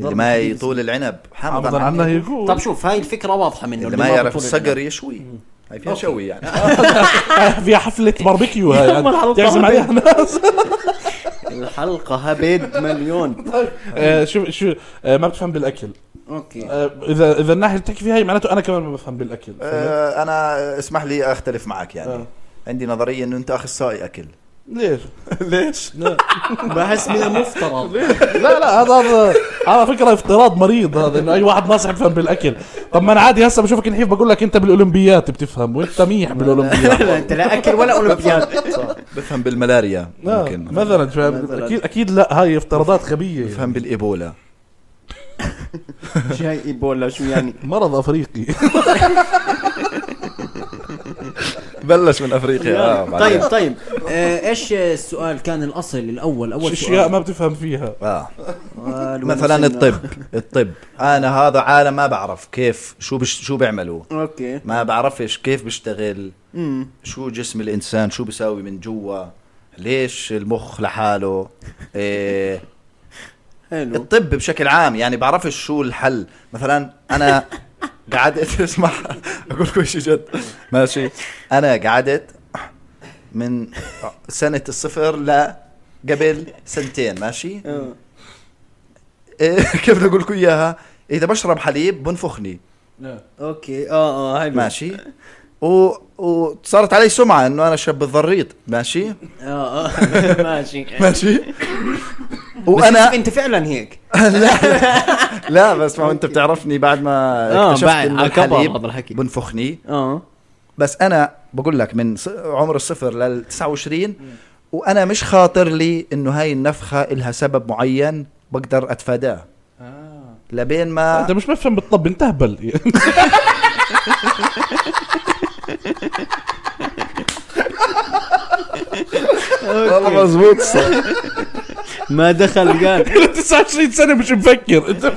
B: اللي ما يطول العنب حامض
A: عمضا عنها
B: عنه
A: يقول
C: طب شوف هاي الفكره واضحه منه
B: اللي ما يعرف
C: بطول
B: الصقر يشوي هاي فيها شوي يعني
A: "آه، في حفله باربيكيو هاي
C: يوم الحلقة
A: يعني تعزم عليها ناس
C: الحلقه هبد مليون
A: آه، شو شو آه، ما بتفهم بالاكل
C: اوكي
A: آه، اذا اذا الناحيه اللي بتحكي فيها هي معناته انا كمان ما بفهم بالاكل
B: آه، انا اسمح لي اختلف معك يعني
A: آه.
B: عندي نظريه انه انت اخصائي اكل
A: ليش؟ ليش؟ لا
C: بحس من المفترض
A: لا لا هذا هذا على فكره افتراض مريض هذا انه اي واحد ناصح بفهم بالاكل طب ما انا عادي هسه بشوفك نحيف بقول لك انت بالاولمبيات بتفهم وانت ميح بالاولمبيات
C: لا انت لا اكل ولا اولمبياد
B: بفهم بالملاريا
A: آه،
B: ممكن
A: مثلا فاهم
C: مثلاً.
A: اكيد اكيد لا هاي افتراضات غبيه يعني.
B: بفهم بالايبولا
C: شو هاي ايبولا شو يعني
A: مرض افريقي
B: بلش من افريقيا آه
C: طيب
B: بعدين.
C: طيب آه، ايش السؤال كان الاصل الاول اول
A: اشياء
C: سؤال
A: ما بتفهم فيها
B: آه.
C: آه،
B: مثلا
C: وصلنا.
B: الطب الطب انا هذا عالم ما بعرف كيف شو بش شو بيعملوا
C: اوكي
B: ما بعرفش كيف بيشتغل
C: امم
B: شو جسم الانسان شو بيساوي من جوا ليش المخ لحاله إيه
C: حلو
B: الطب بشكل عام يعني بعرفش شو الحل مثلا انا قعدت اسمع اقول لكم شيء جد ماشي انا قعدت من سنه الصفر ل قبل سنتين ماشي
C: آه.
B: إيه، كيف بدي اقول لكم اياها اذا بشرب حليب بنفخني
C: اوكي اه اه حلو
B: ماشي و... وصارت علي سمعه انه انا شاب الضريط ماشي
C: اه اه ماشي
B: ماشي
C: وانا
B: وانا
C: انت فعلا هيك
B: لا بس ما هو انت بتعرفني بعد ما
C: آه،
B: اكتشفت
C: بعد-
B: انه
C: على كبر
B: الحليب
C: هذا الحكي.
B: بنفخني
C: اه
B: بس انا بقول لك من ص- عمر الصفر لل 29 وانا مش خاطر لي انه هاي النفخه إلها سبب معين بقدر اتفاداه لبين ما
A: انت مش مفهم بالطب انت هبل
B: والله مزبوط
C: ما دخل قال
A: 29 سنه مش مفكر انت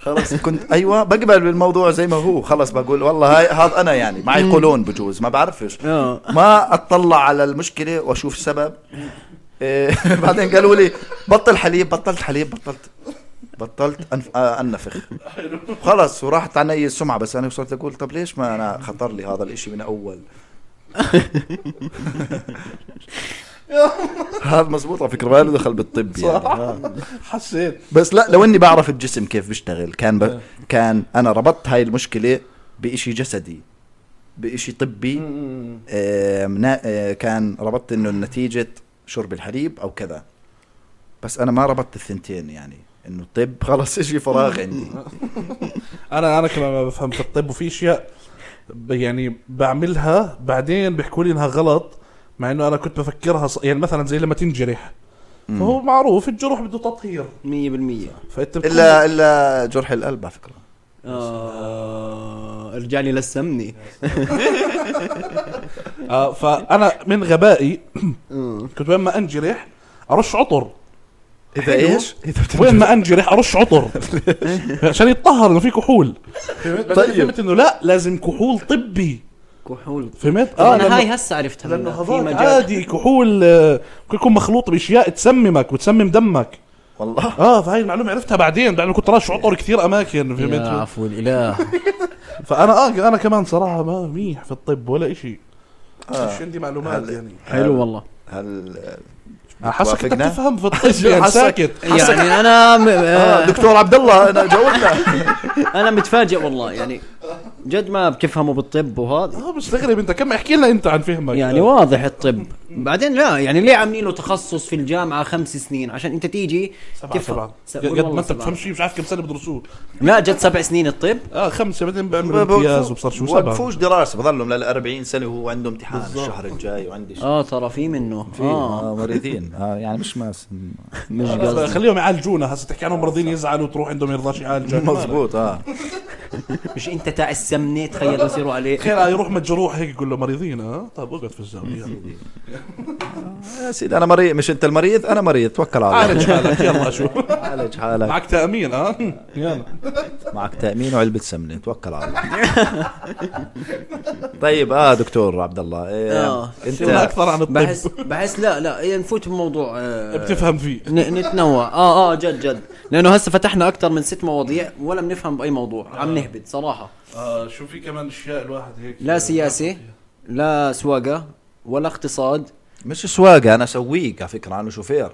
B: خلص كنت ايوه بقبل بالموضوع زي ما هو خلص بقول والله هاي هذا انا يعني معي قولون بجوز ما بعرفش
C: اه
B: ما اطلع على المشكله واشوف السبب إيه، بعدين قالوا لي بطل حليب بطلت حليب بطلت بطلت أنف... آه، انفخ خلص وراحت عني السمعه بس انا وصلت اقول طب ليش ما انا خطر لي هذا الاشي من اول هذا مزبوط على فكره ما له دخل بالطب يعني
A: حسيت
B: بس لا لو اني بعرف الجسم كيف بيشتغل كان ب... كان انا ربطت هاي المشكله بإشي جسدي بإشي طبي آه منا... آه كان ربطت انه نتيجه شرب الحليب او كذا بس انا ما ربطت الثنتين يعني انه الطب خلص إشي فراغ عندي
A: انا انا كمان ما بفهم في الطب وفي اشياء ب- يعني بعملها بعدين بيحكوا لي انها غلط مع انه انا كنت بفكرها ص... يعني مثلا زي لما تنجرح فهو معروف الجروح بده تطهير
C: 100%
A: فانت بتكون-
B: الا الا جرح القلب على فكره
C: اه ارجع لي لسمني
A: آه فانا من غبائي
C: آه.
A: كنت وين ما انجرح ارش عطر
B: اذا
A: حلو.
B: ايش؟ اذا
A: وين ما انجرح ارش عطر عشان يتطهر انه في كحول طيب فهمت انه لا لازم كحول طبي
C: كحول
A: فهمت؟
C: آه انا
A: لما-
C: هاي هسه عرفتها
A: لانه
C: منها. في
A: هذاك
C: مجال.
A: عادي كحول آه، ممكن يكون مخلوط باشياء تسممك وتسمم دمك
B: والله
A: اه فهي المعلومه عرفتها بعدين لانه كنت راش عطر كثير اماكن
C: يا
A: فهمت
C: عفو الاله
A: فانا اه انا كمان صراحه ما منيح في الطب ولا شيء
B: آه.
A: مش عندي معلومات
B: هذا-
A: يعني
C: حلو والله
B: هل
A: حاسك انت
B: وافقنا؟
A: بتفهم في الطب يعني
B: حاسك-
A: ساكت
C: يعني انا م...
B: آه
C: آه
B: دكتور عبد الله انا جاوبنا
C: انا متفاجئ والله يعني جد ما بتفهموا بالطب وهذا
A: اه مستغرب انت كم احكي لنا انت عن فهمك آه.
C: يعني واضح الطب بعدين لا يعني ليه عاملين له تخصص في الجامعه خمس سنين عشان انت تيجي
A: سبعة طبعا
C: سبعة.
A: قد
C: والله
A: ما انت
C: سبعة.
A: بتفهم شيء مش عارف كم سنه بدرسوه
C: لا جد سبع سنين الطب
A: اه خمسه بعدين بعملوا امتياز وبصير شو سبعة
B: وقفوش دراسه بضلهم لل 40 سنه وهو عنده امتحان الشهر الجاي وعندي شيء
C: اه ترى في منه
B: في
C: اه
B: آه، مريضين آه يعني مش ماس
C: مش
A: آه،
C: قصدي
A: خليهم يعالجونا هسه تحكي عنهم مرضين يزعلوا تروح عندهم يرضاش يعالجك
B: مزبوط اه
C: مش انت تاع السمنه تخيل بس يروح عليه
A: تخيل يروح مجروح هيك يقول له مريضين اه طب اقعد في الزاويه
B: يا سيدي انا مريض مش انت المريض انا مريض توكل على الله
A: عالج حالك يلا شو
B: عالج حالك
A: معك تامين اه يلا
B: معك تامين وعلبه سمنه توكل على الله طيب اه دكتور عبد الله إيه
C: آه،
A: شو
B: انت
A: اكثر عن الطب
C: بحس بحس لا لا يعني نفوت بموضوع آه،
A: بتفهم فيه
C: ن- نتنوع اه اه جد جد لانه هسه فتحنا اكثر من ست مواضيع ولا بنفهم باي موضوع عم نهبد صراحه
A: آه شو في كمان اشياء الواحد هيك
C: لا سياسه لا سواقه ولا اقتصاد
B: مش سواقه انا سويق على فكره انا شوفير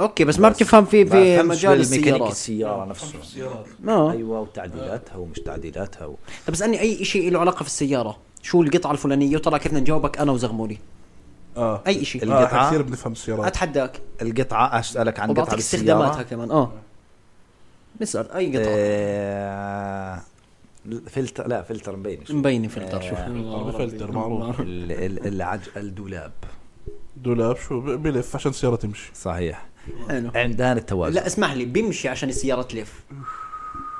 C: اوكي بس ما بتفهم في في
B: بفهمش
C: مجال
B: بالميكانيك
C: السيارات
B: السياره نفسه
A: سيارات
C: اه
B: ايوه وتعديلاتها ومش تعديلاتها و...
C: طب اسالني اي شيء له علاقه في السياره شو القطعه الفلانيه وترى كيف بدنا نجاوبك انا وزغموري
A: اه
C: اي شيء
B: ال-
A: القطعه
B: القطعة.
A: كثير بنفهم السيارات
C: اتحداك
B: القطعه اسالك عن قطعه
C: وبعطيك استخداماتها
B: السياره
C: كمان اه بسال اي قطعه
B: آه... فلتر لا فلتر مبين شوي.
C: مبين فلتر شوف
B: آه،
A: فلتر معروف
B: ال- ال- العج... الدولاب
A: دولاب شو ب- بلف عشان السياره تمشي
B: صحيح
C: حلو
B: عندان التوازن
C: لا اسمح لي بيمشي عشان السياره تلف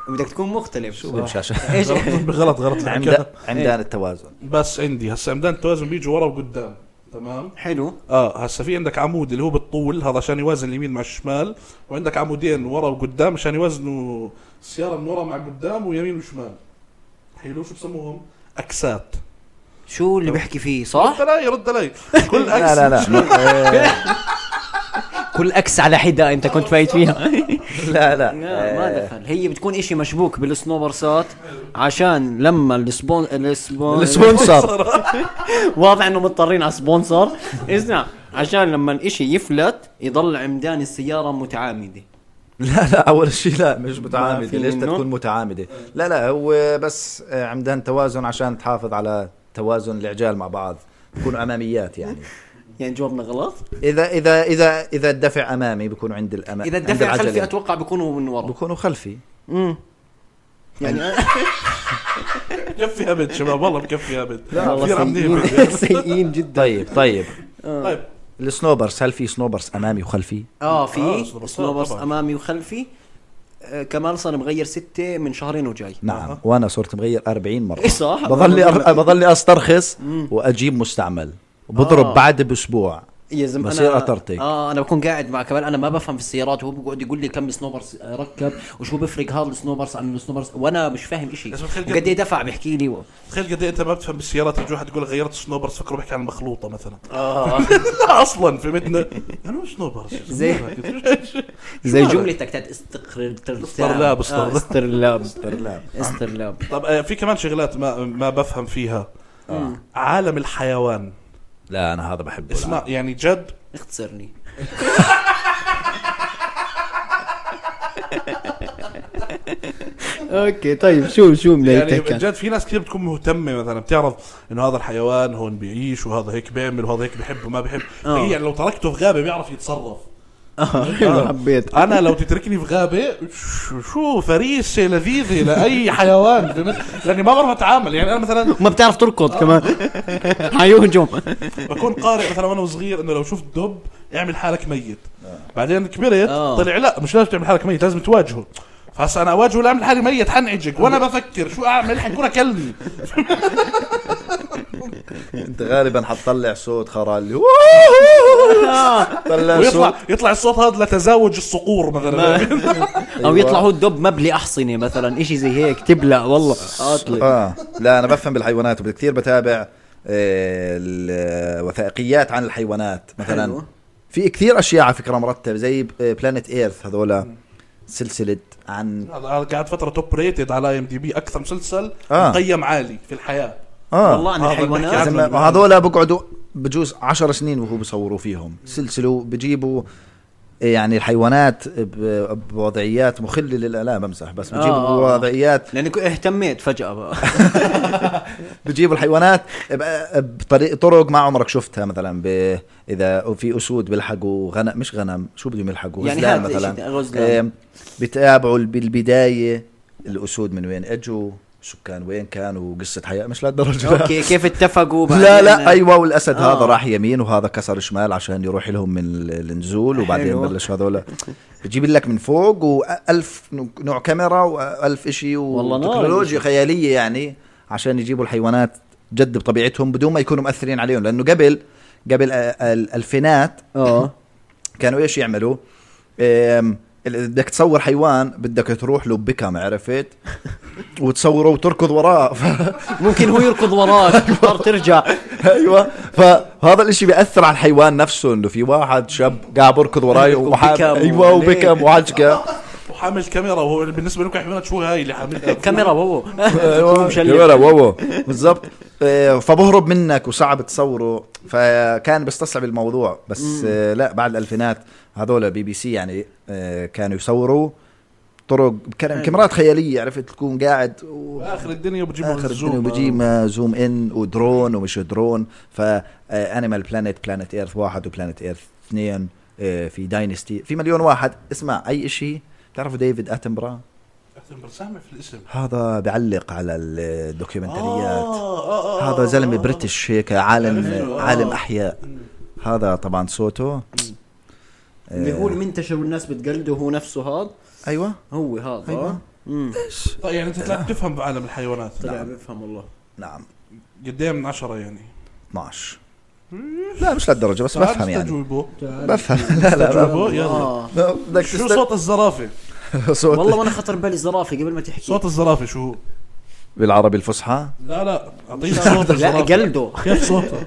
C: بدك تكون مختلف
B: شو بالشاشه
C: ايش
A: غلط غلط
B: عمدان
A: عمدان
B: عمدان التوازن
A: بس عندي هسا عمدان التوازن بيجي ورا وقدام تمام
C: حلو
A: اه هسا في عندك عمود اللي هو بالطول هذا عشان يوازن اليمين مع الشمال وعندك عمودين ورا وقدام عشان يوازنوا السياره من ورا مع قدام ويمين وشمال حلو شو بسموهم اكسات
C: شو اللي بيحكي فيه صح؟
A: رد علي رد علي كل
B: لا
A: اكس
B: لا لا
C: كل اكس على حده انت كنت فايت فيها
B: لا لا
C: لا ما دخل هي بتكون اشي مشبوك بالسنوبرسات عشان لما السبون السبون
B: السبونسر
C: واضح انه مضطرين على سبونسر اسمع عشان لما الاشي يفلت يضل عمدان السيارة متعامدة
B: لا لا اول شيء لا مش
C: ما
B: متعامده
C: في
B: ليش بدها
C: منه؟
B: تكون متعامده لا لا هو بس آه، عمدان توازن عشان تحافظ على توازن العجال مع بعض بكون اماميات يعني
C: يعني جاوبنا غلط
B: اذا اذا اذا اذا الدفع امامي بكون عند الامام
C: اذا الدفع خلفي اتوقع بيكونوا من ورا
B: بكونوا خلفي
C: امم يعني
A: بكفي هبد شباب والله بكفي هبد
C: لا
A: كثير عم
C: والله
A: نهبد
C: سيئين سيئين جدا
B: طيب طيب
A: طيب
B: السنوبرز هل في سنوبرز امامي وخلفي؟
C: اه
A: آه،
C: في
A: سنوبرسات
C: سنوبرس
A: طبعاً.
C: امامي وخلفي آه، كمال صار مغير ستة من شهرين وجاي
B: نعم وانا صرت مغير 40 مره
C: إيه صح؟
B: بضلي أر... بضلي استرخص واجيب مستعمل وبضرب
C: آه.
B: بعد باسبوع
C: يا زلمه
B: بصير أطرطق.
C: اه انا بكون قاعد مع كمان انا ما بفهم في السيارات وهو بيقعد يقول لي كم سنوبرز ركب وشو بفرق هذا السنوبرز عن السنوبرز وانا مش فاهم شيء
A: يا زلمة خلي-
C: وقد ايه دفع بيحكي لي و...
A: تخيل قد إيه انت ما بتفهم بالسيارات يجي واحد يقول لك غيرت سنوبرز فكروا بيحكي عن المخلوطه مثلا
C: آه
A: اصلا فهمتنا انا مش سنوبرز
C: زي- زي جملتك تاعت استقر
A: استرلاب، استرلاب.
C: استرلاب استرلاب استرلاب استرلاب
A: طب آه، في كمان شغلات ما ما بفهم فيها
B: آه.
A: عالم الحيوان
B: لا انا هذا بحبه
A: اسمع يعني جد
C: اختصرني اوكي طيب شو شو
A: يعني جد في ناس كثير بتكون مهتمه مثلا بتعرف انه هذا الحيوان هون بيعيش وهذا هيك بيعمل وهذا هيك بحب وما بحب
C: آه.
A: يعني لو تركته في غابه بيعرف يتصرف آه.
C: اه حبيت
A: انا لو تتركني في غابه شو- شو فريسه لذيذه لاي حيوان فهمت؟ لاني ما بعرف اتعامل يعني انا مثلا
C: ما بتعرف
A: آه.
C: تركض كمان حيهجم
A: بكون قارئ مثلا وانا صغير انه لو شفت دب اعمل حالك ميت بعدين كبرت
C: آه.
A: طلع لا مش لازم تعمل حالك ميت لازم تواجهه فهسا انا اواجهه ولا اعمل حالي ميت حنعجق وانا بفكر شو اعمل حيكون اكلني
B: انت غالبا حتطلع صوت خرال طلع صوت
A: ويطلع يطلع الصوت هذا لتزاوج الصقور مثلا
C: او يطلع هو الدب مبلي احصنه مثلا اشي زي هيك تبلع والله اطلع
B: اه لا انا بفهم بالحيوانات وكثير بتابع آه، الوثائقيات عن الحيوانات مثلا
C: حلو.
B: في كثير اشياء على فكره مرتبه زي آه، بلانيت ايرث هذول سلسله عن
A: هذا هذا قاعد فتره توب ريتد على ام دي بي اكثر مسلسل
B: آه.
A: مقيم عالي في الحياه
B: اه
C: والله عن
A: هذا
C: الحيوانات
A: بنحكي عنه.
B: زلمة، وهذول بقعدوا بجوز عشر سنين وهو بصوروا فيهم سلسلوا بجيبوا يعني الحيوانات ب- بوضعيات مخلة للآلام بمزح بس بجيبوا
C: آه، آه، آه.
B: وضعيات
C: لاني كو- اهتميت فجاه بقى
B: بجيبوا الحيوانات ب- بطريق طرق ما عمرك شفتها مثلا ب... اذا في اسود بيلحقوا غنم مش غنم شو بدهم يلحقوا
C: يعني
B: غزلان
C: هذا
B: مثلا
C: إشي، غزلان.
B: آم، بتابعوا ال- بالبدايه الاسود من وين اجوا سكان وين كانوا قصه حياه مش لهالدرجه لا.
C: اوكي كيف اتفقوا بعدين؟
B: آه. لا لا ايوه والاسد
C: آه.
B: هذا راح يمين وهذا كسر شمال عشان يروح لهم من ال- النزول وبعدين
C: حلو.
B: بلش هذول بجيب لك من فوق وألف نوع كاميرا وألف إشي
C: والله نار
B: وتكنولوجيا
C: الإشي.
B: خيالية يعني عشان يجيبوا الحيوانات جد بطبيعتهم بدون ما يكونوا مأثرين عليهم لأنه قبل قبل آه، الألفينات
C: اه
B: كانوا ايش يعملوا؟ آم، ال- بدك تصور حيوان بدك تروح له بكم عرفت؟ وتصوره وتركض وراه
C: ممكن هو يركض وراك تضطر ترجع
B: ايوه فهذا الاشي بياثر على الحيوان نفسه انه في واحد شاب قاعد بركض وراي وحاب
C: وبكم
B: ايوه
C: وليه؟
B: وبكم وعجقه
A: وحامل كاميرا وهو بالنسبه لكم حيوانات شو هاي اللي حاملها
C: كاميرا وهو
B: ايوه
C: مشلل.
B: كاميرا واو بالضبط آه، فبهرب منك وصعب تصوره فكان بيستصعب الموضوع بس آه، لا بعد الالفينات هذول بي بي سي يعني آه، كانوا يصوروا طرق كان- كاميرات خياليه عرفت تكون قاعد و...
A: اخر الدنيا وبجيب
B: اخر الدنيا
A: آه.
B: وبجيب زوم ان ودرون ومش درون آه، فانيمال بلانيت بلانيت ايرث واحد وبلانيت ايرث اثنين آه، في داينستي في مليون واحد اسمع اي شيء بتعرفوا ديفيد اتنبرا
A: برسامه في الاسم
B: هذا بعلق على الدوكيومنتريات
A: آه، آه،
B: هذا
A: آه،
B: زلمه
A: آه، آه.
B: بريتش هيك عالم
A: عرفته، آه.
B: عالم احياء
A: مم.
B: هذا طبعا صوته آه، إيه.
C: اللي هو المنتشر والناس بتقلده هو نفسه هذا
B: ايوه
C: هو هذا
A: أيوه.
B: ايوه
A: طيب يعني انت طلعت بتفهم بعالم الحيوانات
C: طلع
B: نعم.
C: بفهم والله
B: نعم
A: قد ايه من عشرة يعني
B: 12 لا مش للدرجه بس بفهم يعني
A: استجوبه
B: بفهم لا لا
A: استجوبه يلا
C: آه.
B: بدك
A: شو صوت الزرافة؟
B: صوت
C: والله وانا خطر ببالي زرافه قبل ما تحكي
A: صوت الزرافة شو هو؟
B: بالعربي الفصحى
A: لا لا اعطيني صوت
C: لا
A: الزرافة
C: قلده
A: كيف صوتها؟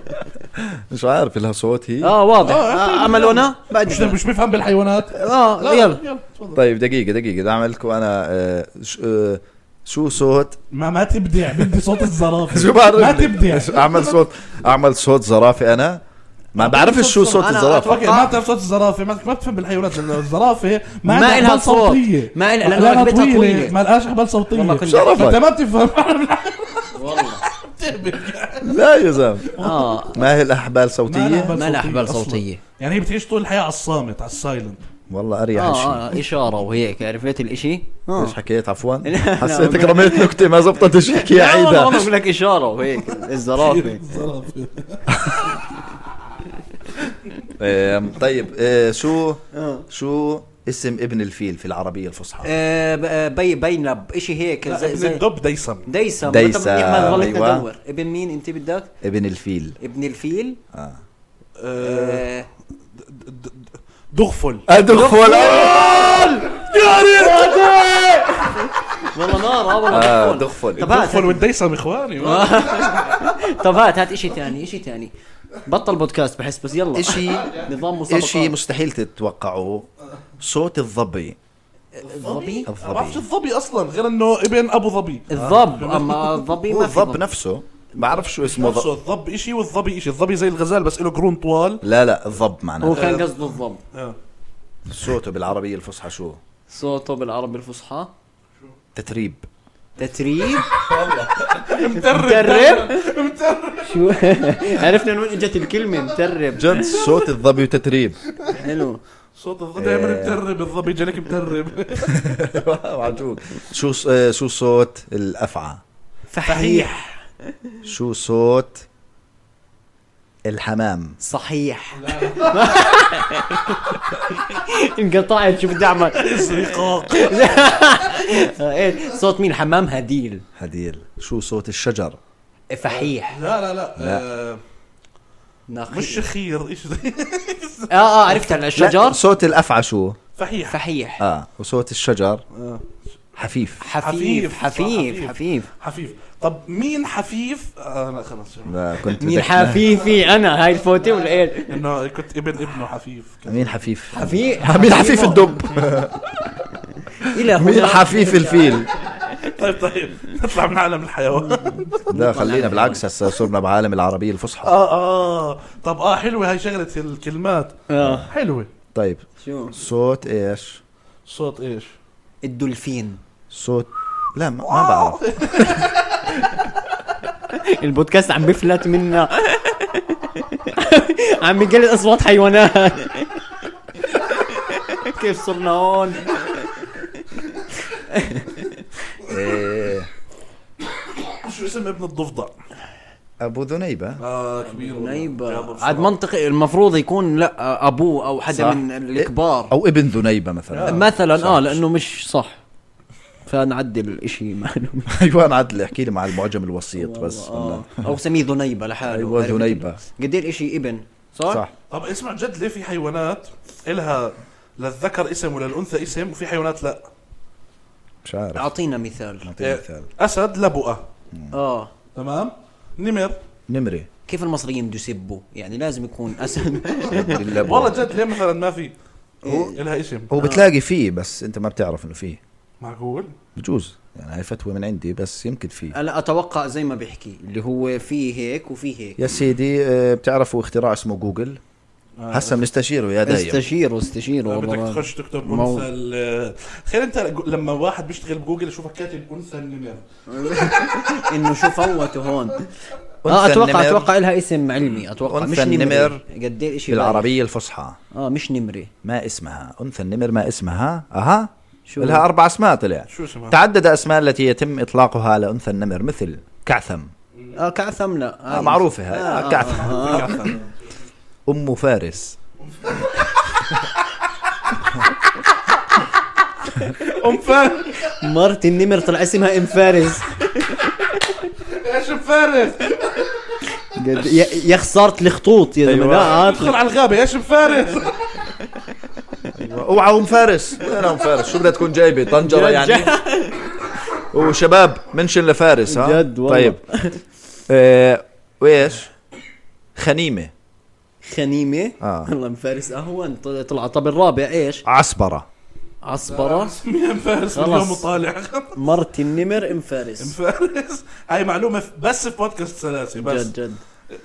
B: مش عارف لها صوت هي
C: اه واضح
A: آه،
C: آه، امل وانا
A: مش
C: بعد
A: مش بفهم بالحيوانات
C: اه
A: لا
C: يلا
A: يلا تفضل.
B: طيب دقيقه دقيقه بدي اعمل لكم انا آه، ش- آه، شو صوت
A: ما ما تبدع بدي صوت الزرافة
B: شو بعرف يعني.
A: ما
B: لك؟
A: تبدع
B: اعمل صوت اعمل صوت زرافه انا ما بعرفش شو صوت
C: أنا
B: الزرافه
A: اوكي ما بتعرف صوت الزرافه ما ما بتفهم بالحيوانات لأن الزرافه ما
C: ما
A: عندها
C: إلها
A: أحبال
C: صوت.
A: صوتيه
C: ما إلها- لأنه
A: أحبالها
C: ركبتها طويلة.
A: ما لهاش احبال صوتيه
C: والله كنت-
B: شرفك.
A: انت ما بتفهم
C: والله
B: لا يا زلمه
C: اه
B: ما هي الاحبال صوتيه
C: طيب. ما لها أحبال
A: أصلاً.
C: صوتية.
A: يعني هي بتعيش طول الحياه على الصامت على السايلنت
B: والله اريح شيء
C: اه آه، اشاره وهيك عرفت الاشي؟ آه.
B: ايش حكيت عفوا
C: لا،
B: حسيتك
C: ما-
B: رميت نكته ما زبطت ايش حكي يا
C: لا، والله والله
B: عيدة
C: بقول لك اشاره وهيك الزرافه
A: الزرافه
B: آم، طيب آه، شو
C: آه.
B: شو اسم ابن الفيل في العربيه الفصحى
C: آه، ب- آه، بي بينب اشي هيك
A: لا،
C: زي
A: ابن
C: زي
A: الدب ديسم
C: ديسم
B: ديسم،
C: ديسم ما ضليت
B: أيوة.
C: ادور ابن مين انت بدك؟
B: ابن الفيل
C: ابن الفيل
B: آه.
C: آه،
A: د- د- د- دغفل
B: ادخل آه! يا
C: والله نار آه،
B: آه،
C: والله
B: دغفل.
C: طب هات
A: دغفل
C: هات-
A: والديسم اخواني
C: طب هات هات اشي ثاني اشي ثاني بطل بودكاست بحس بس يلا
B: إشي-
C: نظام مسابقات
B: اشي مستحيل تتوقعوه صوت الظبي
C: الظبي
A: ما بعرفش
B: الظبي
A: الظبي اصلا غير انه ابن ابو ظبي
C: الظب اما الظبي
B: هو
C: ما في
B: الظب
C: ظب
B: نفسه بعرف شو اسمه
A: نفسه
B: ظب
A: الظب اشي والظبي اشي الظبي زي الغزال بس له قرون طوال
B: لا لا الظب
C: هو
B: معناه
C: كان قصده الظب
A: آه.
B: صوته بالعربيه الفصحى شو
C: صوته بالعربي الفصحى
B: تتريب
C: تتريب
A: مترب
C: مترب شو عرفنا من وين اجت الكلمه مترب
B: جد صوت الظبي وتتريب
C: حلو
A: صوت الظبي دائما مترب الظبي جالك مترب
B: وعجوك. شو ص- آه، شو صوت الافعى
A: فحيح
B: شو صوت الحمام
C: صحيح انقطعت شو بدي اعمل
A: استيقاق
C: آه، إيه، صوت مين حمام هديل
B: هديل شو صوت الشجر
C: فحيح
A: لا لا لا, آه
C: نخيل.
A: مش خير ايش زي-
C: اه اه عرفت على
B: لا،
C: الشجر
B: صوت الافعى شو
A: فحيح
C: فحيح
B: اه وصوت الشجر
A: آه.
B: حفيف
A: حفيف.
C: حفيف حفيف
A: صح،
C: حفيف
A: حفيف طب مين حفيف آه لا خلاص
B: لا، كنت
C: مين
B: بدك-
C: حفيفي انا هاي الفوتي
B: آه.
C: ولا ايه
A: انه كنت ابن ابنه حفيف كان.
B: مين حفيف
C: حفيف
B: مين حفيف الدب
C: الى
B: مين
C: هنا
B: حفيف الفيل
A: طيب طيب نطلع من عالم الحيوان
B: لا خلينا بالعكس هسه صرنا بعالم العربيه الفصحى
A: اه اه طب اه حلوه هاي شغله الكلمات
C: آه.
A: حلوه
B: طيب
C: شو
B: صوت ايش
A: صوت ايش
C: الدولفين
B: صوت لا ما, ما بعرف
C: البودكاست عم بفلت منا عم يقلد اصوات حيوانات كيف صرنا هون
B: إيه.
A: شو اسم ابن الضفدع
B: ابو ذنيبه
A: اه كبير والله. جابر
C: نايبة
A: صراحة.
C: عاد منطقي المفروض يكون لا ابوه او
B: صح.
C: حدا من الكبار
B: او ابن ذنيبه
D: آه.
B: مثلا
C: مثلا اه
B: آه، صح.
C: لانه مش صح فنعدل الاشي معلوم
B: ايوان عدل أيوة، احكي لي مع المعجم الوسيط بس
C: آه. او سميه ذنيبه لحاله
B: أيوة،
C: عرفت؟
B: ذنيبة.
C: قد ايه الاشي ابن صح؟
B: صح
A: طب اسمع جد ليه في حيوانات إلها للذكر اسم وللأنثى اسم وفي حيوانات لا إيه،
B: مش عارف
C: اعطينا مثال
B: أعطيني مثال
A: أسد لبؤة
C: اه
A: تمام نمر
C: طيب.
B: نمرة
C: كيف المصريين بده يسبوا يعني لازم يكون اسد
B: باللبن.
A: والله جد ليه مثلا ما في
C: إيه.
A: إلها اسم
B: هو بتلاقي فيه بس انت ما بتعرف انه فيه
A: معقول
B: بجوز يعني هاي فتوى من عندي بس يمكن فيه
C: انا اتوقع زي ما بيحكي اللي هو في هيك وفي هيك
B: يا سيدي آه، بتعرفوا اختراع اسمه جوجل
A: آه.
B: هسا بنستشيره يا دايم
C: استشيروا استشيروا
A: بدك
C: والله
A: تخش تكتب
C: مو-
A: انثى ال- تخيل انت لما واحد بيشتغل بجوجل يشوفك كاتب انثى النمر
C: انه شو فوتوا هون اه
D: آه،
B: أنثى
C: اتوقع
B: النمر.
C: اتوقع لها اسم علمي اتوقع
B: أنثى
C: مش نمر
B: النمر
C: قد ايه شيء
B: بالعربية الفصحى
C: اه مش نمره
B: ما اسمها أنثى النمر ما اسمها أها
C: شو؟
B: شو لها أربع أسماء طلع
A: شو اسمها؟
B: تعدد أسماء التي يتم إطلاقها على أنثى النمر مثل كعثم
C: اه كعثم لا
D: طيب.
B: آه معروفة هاي آه كعثم
A: كعثر.
B: أم فارس
A: ام فارس
D: مرت النمر طلع اسمها ام فارس
A: ايش ام فارس
D: قد- يا- يا خساره الخطوط يا زلمه
B: أيوة.
D: لا
A: ادخل
D: عاطل.
A: على الغابه ايش ام فارس
B: اوعى ام فارس وين ام فارس شو بدها تكون جايبه طنجره يعني وشباب منشن لفارس ها
D: جد والله.
B: طيب آه، وايش خنيمه
D: خنيمه
B: آه.
D: والله ام فارس اهون طل- طلع طب الرابع ايش
B: عصبره
D: عصبره
A: اسمي ام فارس من
D: خلص.
A: اليوم وطالع
D: مرت النمر ام
A: ام
D: فارس
A: فارس هاي معلومه في- بس في بودكاست سلاسي بس
D: جد جد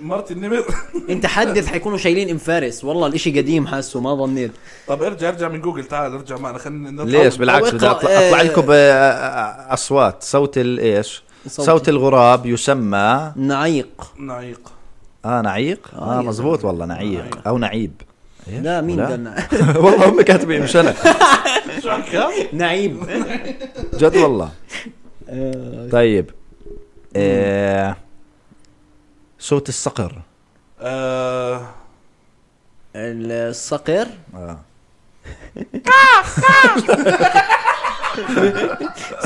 A: مرتي النمر
D: انت حدث حيكونوا شايلين ام فارس والله الاشي قديم حاسه ما ظنيت
A: طب ارجع ارجع من جوجل تعال ارجع معنا خلينا
B: ليش بالعكس
D: طب
B: بدي
D: اقرأ،
B: اطلع, أطلع
D: آه،
B: لكم آه، اصوات صوت الايش
D: صوت-
B: صوت, صوت الغراب يسمى
D: نعيق
A: نعيق
B: اه نعيق
D: آه،
B: اه
D: يا
B: مزبوط والله نعيق او نعيب إيش؟
D: لا مين ده النع-
B: والله هم كاتبين مش انا
A: شو عكا؟
D: نعيب
B: جد والله
D: آه،
B: طيب آه صوت الصقر
A: آه،
D: الصقر
B: آه.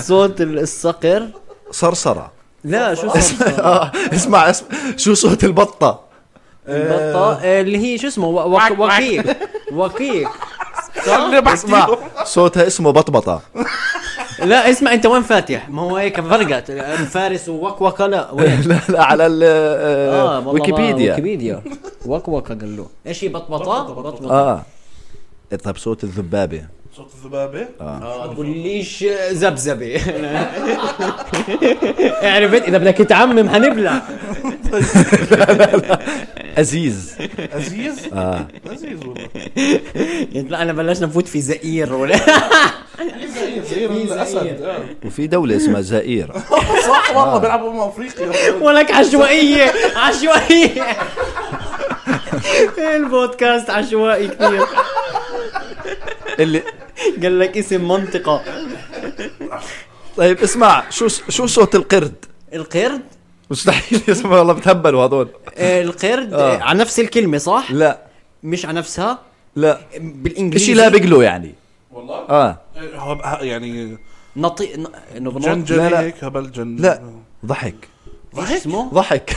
D: صوت الصقر
B: صرصرة
D: لا شو اسمه
B: آه. اسمع اسمع شو صوت البطة
D: البطه آه، اللي هي شو اسمه و- وك- وكيك وكيك
A: خليني
B: اسمع
A: بحكي
B: صوتها اسمه بطبطة
D: لا اسمع انت وين فاتح ما هو هيك فرقت ام فارس ووكوكه لا وين
B: لا لا على ال
D: اه
B: آه
D: والله ما-
B: ويكيبيديا
D: ويكيبيديا وكوكه قال له ايش هي بطبطه بطبطه
B: اه طيب صوت الذبابة
A: صوت الذبابه آه.
D: قوليش زبزبه عرفت اذا بدك تعمم حنبلع
B: أزيز
A: عزيز
B: آه.
A: عزيز والله
D: لا انا بلشنا نفوت في زئير ولا
A: زئير زئير الاسد إيه، آه.
B: وفي دولة اسمها زائير
A: صح والله بيلعبوا امم افريقيا
D: ولك عشوائيه عشوائيه البودكاست عشوائي كثير
B: اللي
D: قال لك اسم منطقه
B: طيب اسمع شو شو صوت القرد
D: القرد
B: مستحيل اسمع والله بتهبلوا هذول
D: آه، القرد
B: آه.
D: آه، على نفس الكلمه صح
B: لا
D: مش على نفسها
B: لا
D: بالانجليزي
B: اشي لابق له يعني
A: والله
B: اه
A: آه، هو بقى- يعني
D: نطي ن- انه بنط
B: لا،
A: جنجل
B: لا.
A: هيك هبل جن
B: لا ضحك
D: ايش اسمه
B: ضحك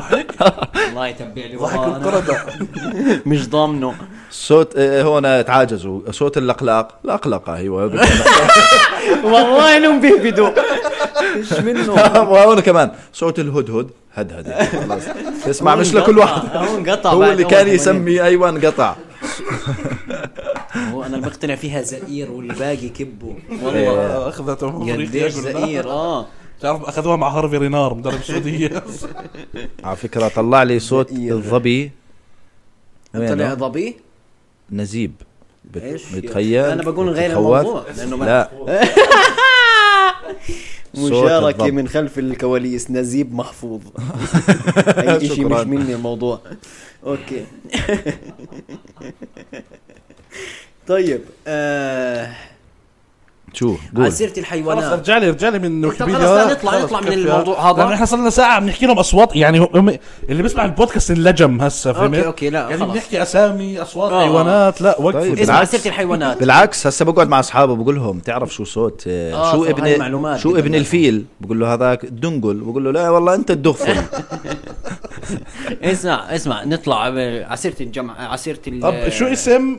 D: الله يتبع لي
A: ضحك
D: والله أنا
A: القردة
D: مش ضامنه
B: صوت آه، هون تعاجزوا صوت اللقلاق لقلقة ايوه
D: والله انهم بيهبدوا ايش منه
B: وهون كمان صوت الهدهد هدهد خلاص اسمع مش لكل واحد
D: هون قطع
B: هو
D: بعد
B: اللي
D: أول
B: كان
D: ثمانين.
B: يسمي ايوه انقطع
D: هو انا اللي بقتنع فيها زئير والباقي كبوا والله
A: والله اخذت امم افريقيا
D: قديش
A: كلها.
D: زئير اه
A: بتعرف اخذوها مع هارفي رينار مدرب السعوديه
B: على فكرة طلع لي صوت
D: زئير.
B: الظبي
D: إيه. طلع يعني
B: وينه؟
D: ظبي
B: نزيب بت-
D: إيش؟
B: بتخيل
D: أنا بقول غير
B: بتخوف؟
D: الموضوع، لأنه ما-
B: لا صوت
D: مشاركة
B: الضب.
D: من خلف الكواليس نزيب محفوظ أي شيء مش
B: شكراً.
D: مني الموضوع أوكي طيب آه
B: شو
D: على
B: قول
D: سيرة
A: خلص
D: الحيوانات
A: ارجع لي ارجع لي من ويكيبيديا
D: خلص، لا، نطلع-
A: خلص،
D: نطلع من
A: كفي.
D: الموضوع هذا.
A: لأن احنا صرنا ساعه بنحكي لهم اصوات يعني هم اللي بيسمع البودكاست انلجم هسه فهمت
D: أوكي، أوكي، لا،
A: يعني
D: خلص.
A: بنحكي اسامي اصوات
D: آه.
A: حيوانات لا وقف
B: طيب.
D: اسمع على
B: بالعكس.
D: سيرة الحيوانات
B: بالعكس هسه بقعد مع اصحابه بقول لهم تعرف شو صوت آه،
D: آه،
B: شو
D: طب هاي
B: ابن
D: معلومات
B: شو
D: بدنا
B: ابن
D: نعرف.
B: الفيل بقول له هذاك دنقل بقول له لا والله انت الدغفل
D: اسمع اسمع نطلع على سيرة الجمع على سيرة ال-
A: طب شو اسم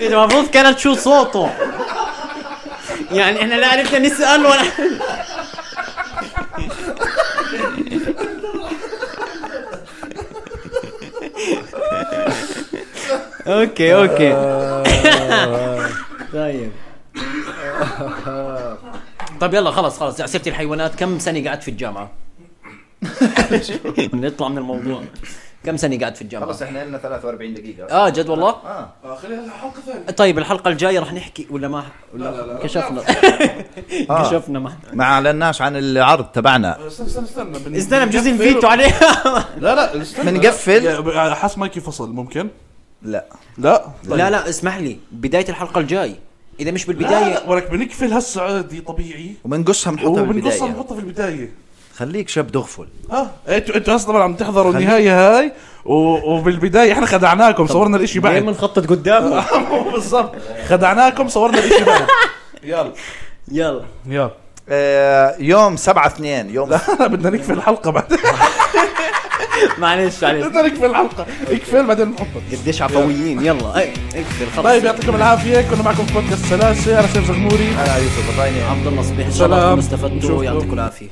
D: إذا المفروض كانت شو صوته يعني احنا لا عرفنا نسأل ولا اوكي اوكي طيب طيب يلا خلص خلص على سيرة الحيوانات كم سنة قعدت في الجامعة؟ نطلع من الموضوع كم سنة قعدت في الجامعة؟
B: احنا لنا 43 دقيقة
D: اه جد والله؟
A: خليها حلقه ثانيه
D: طيب الحلقة الجاية رح نحكي ولا ما ولا
A: لا، لا، لا.
D: كشفنا
B: آه.
D: كشفنا ما
B: ما اعلناش عن العرض تبعنا
A: استنى استنى استنى بن-
D: استنى بجوز
A: بنقفل.
D: الفيتو عليها
A: لا لا استنى
B: بنقفل.
A: يا- حس مايكي فصل ممكن
B: لا
A: لا
D: لا لا اسمح لي بداية الحلقة الجاي إذا مش
A: بدايه
D: بالبداية
A: ولك بنقفل هسه عادي طبيعي
B: وبنقصها بنحطها
A: وبنقصها
B: بالبداية
A: بنحطها في البدايه
B: خليك شاب دغفل
A: اه انتوا انتوا اصلا عم تحضروا النهايه هاي و... وبالبدايه احنا خدعناكم صورنا الاشي
D: ليه
A: بعد
D: بنخطط قدامه
A: بالضبط خدعناكم صورنا الاشي بعد يلا
D: يلا
A: يلا
B: آه يوم 7 2 يوم آه،
A: انا بدنا نقفل الحلقه بعدين
D: معلش معلش
A: بدنا نقفل الحلقه اقفل بعدين نحطها
D: قديش عفويين يلا إيه، أي، اقفل
A: طيب
D: خلص
A: يعطيكم العافيه كنا معكم في بودكاست سلاسه انا سيف زغموري
B: انا يوسف الريني
C: عبد الله صبيح ان شاء
A: سلام.
C: الله
A: نشوفكم.
C: تكونوا استفدتوا يعطيكم العافيه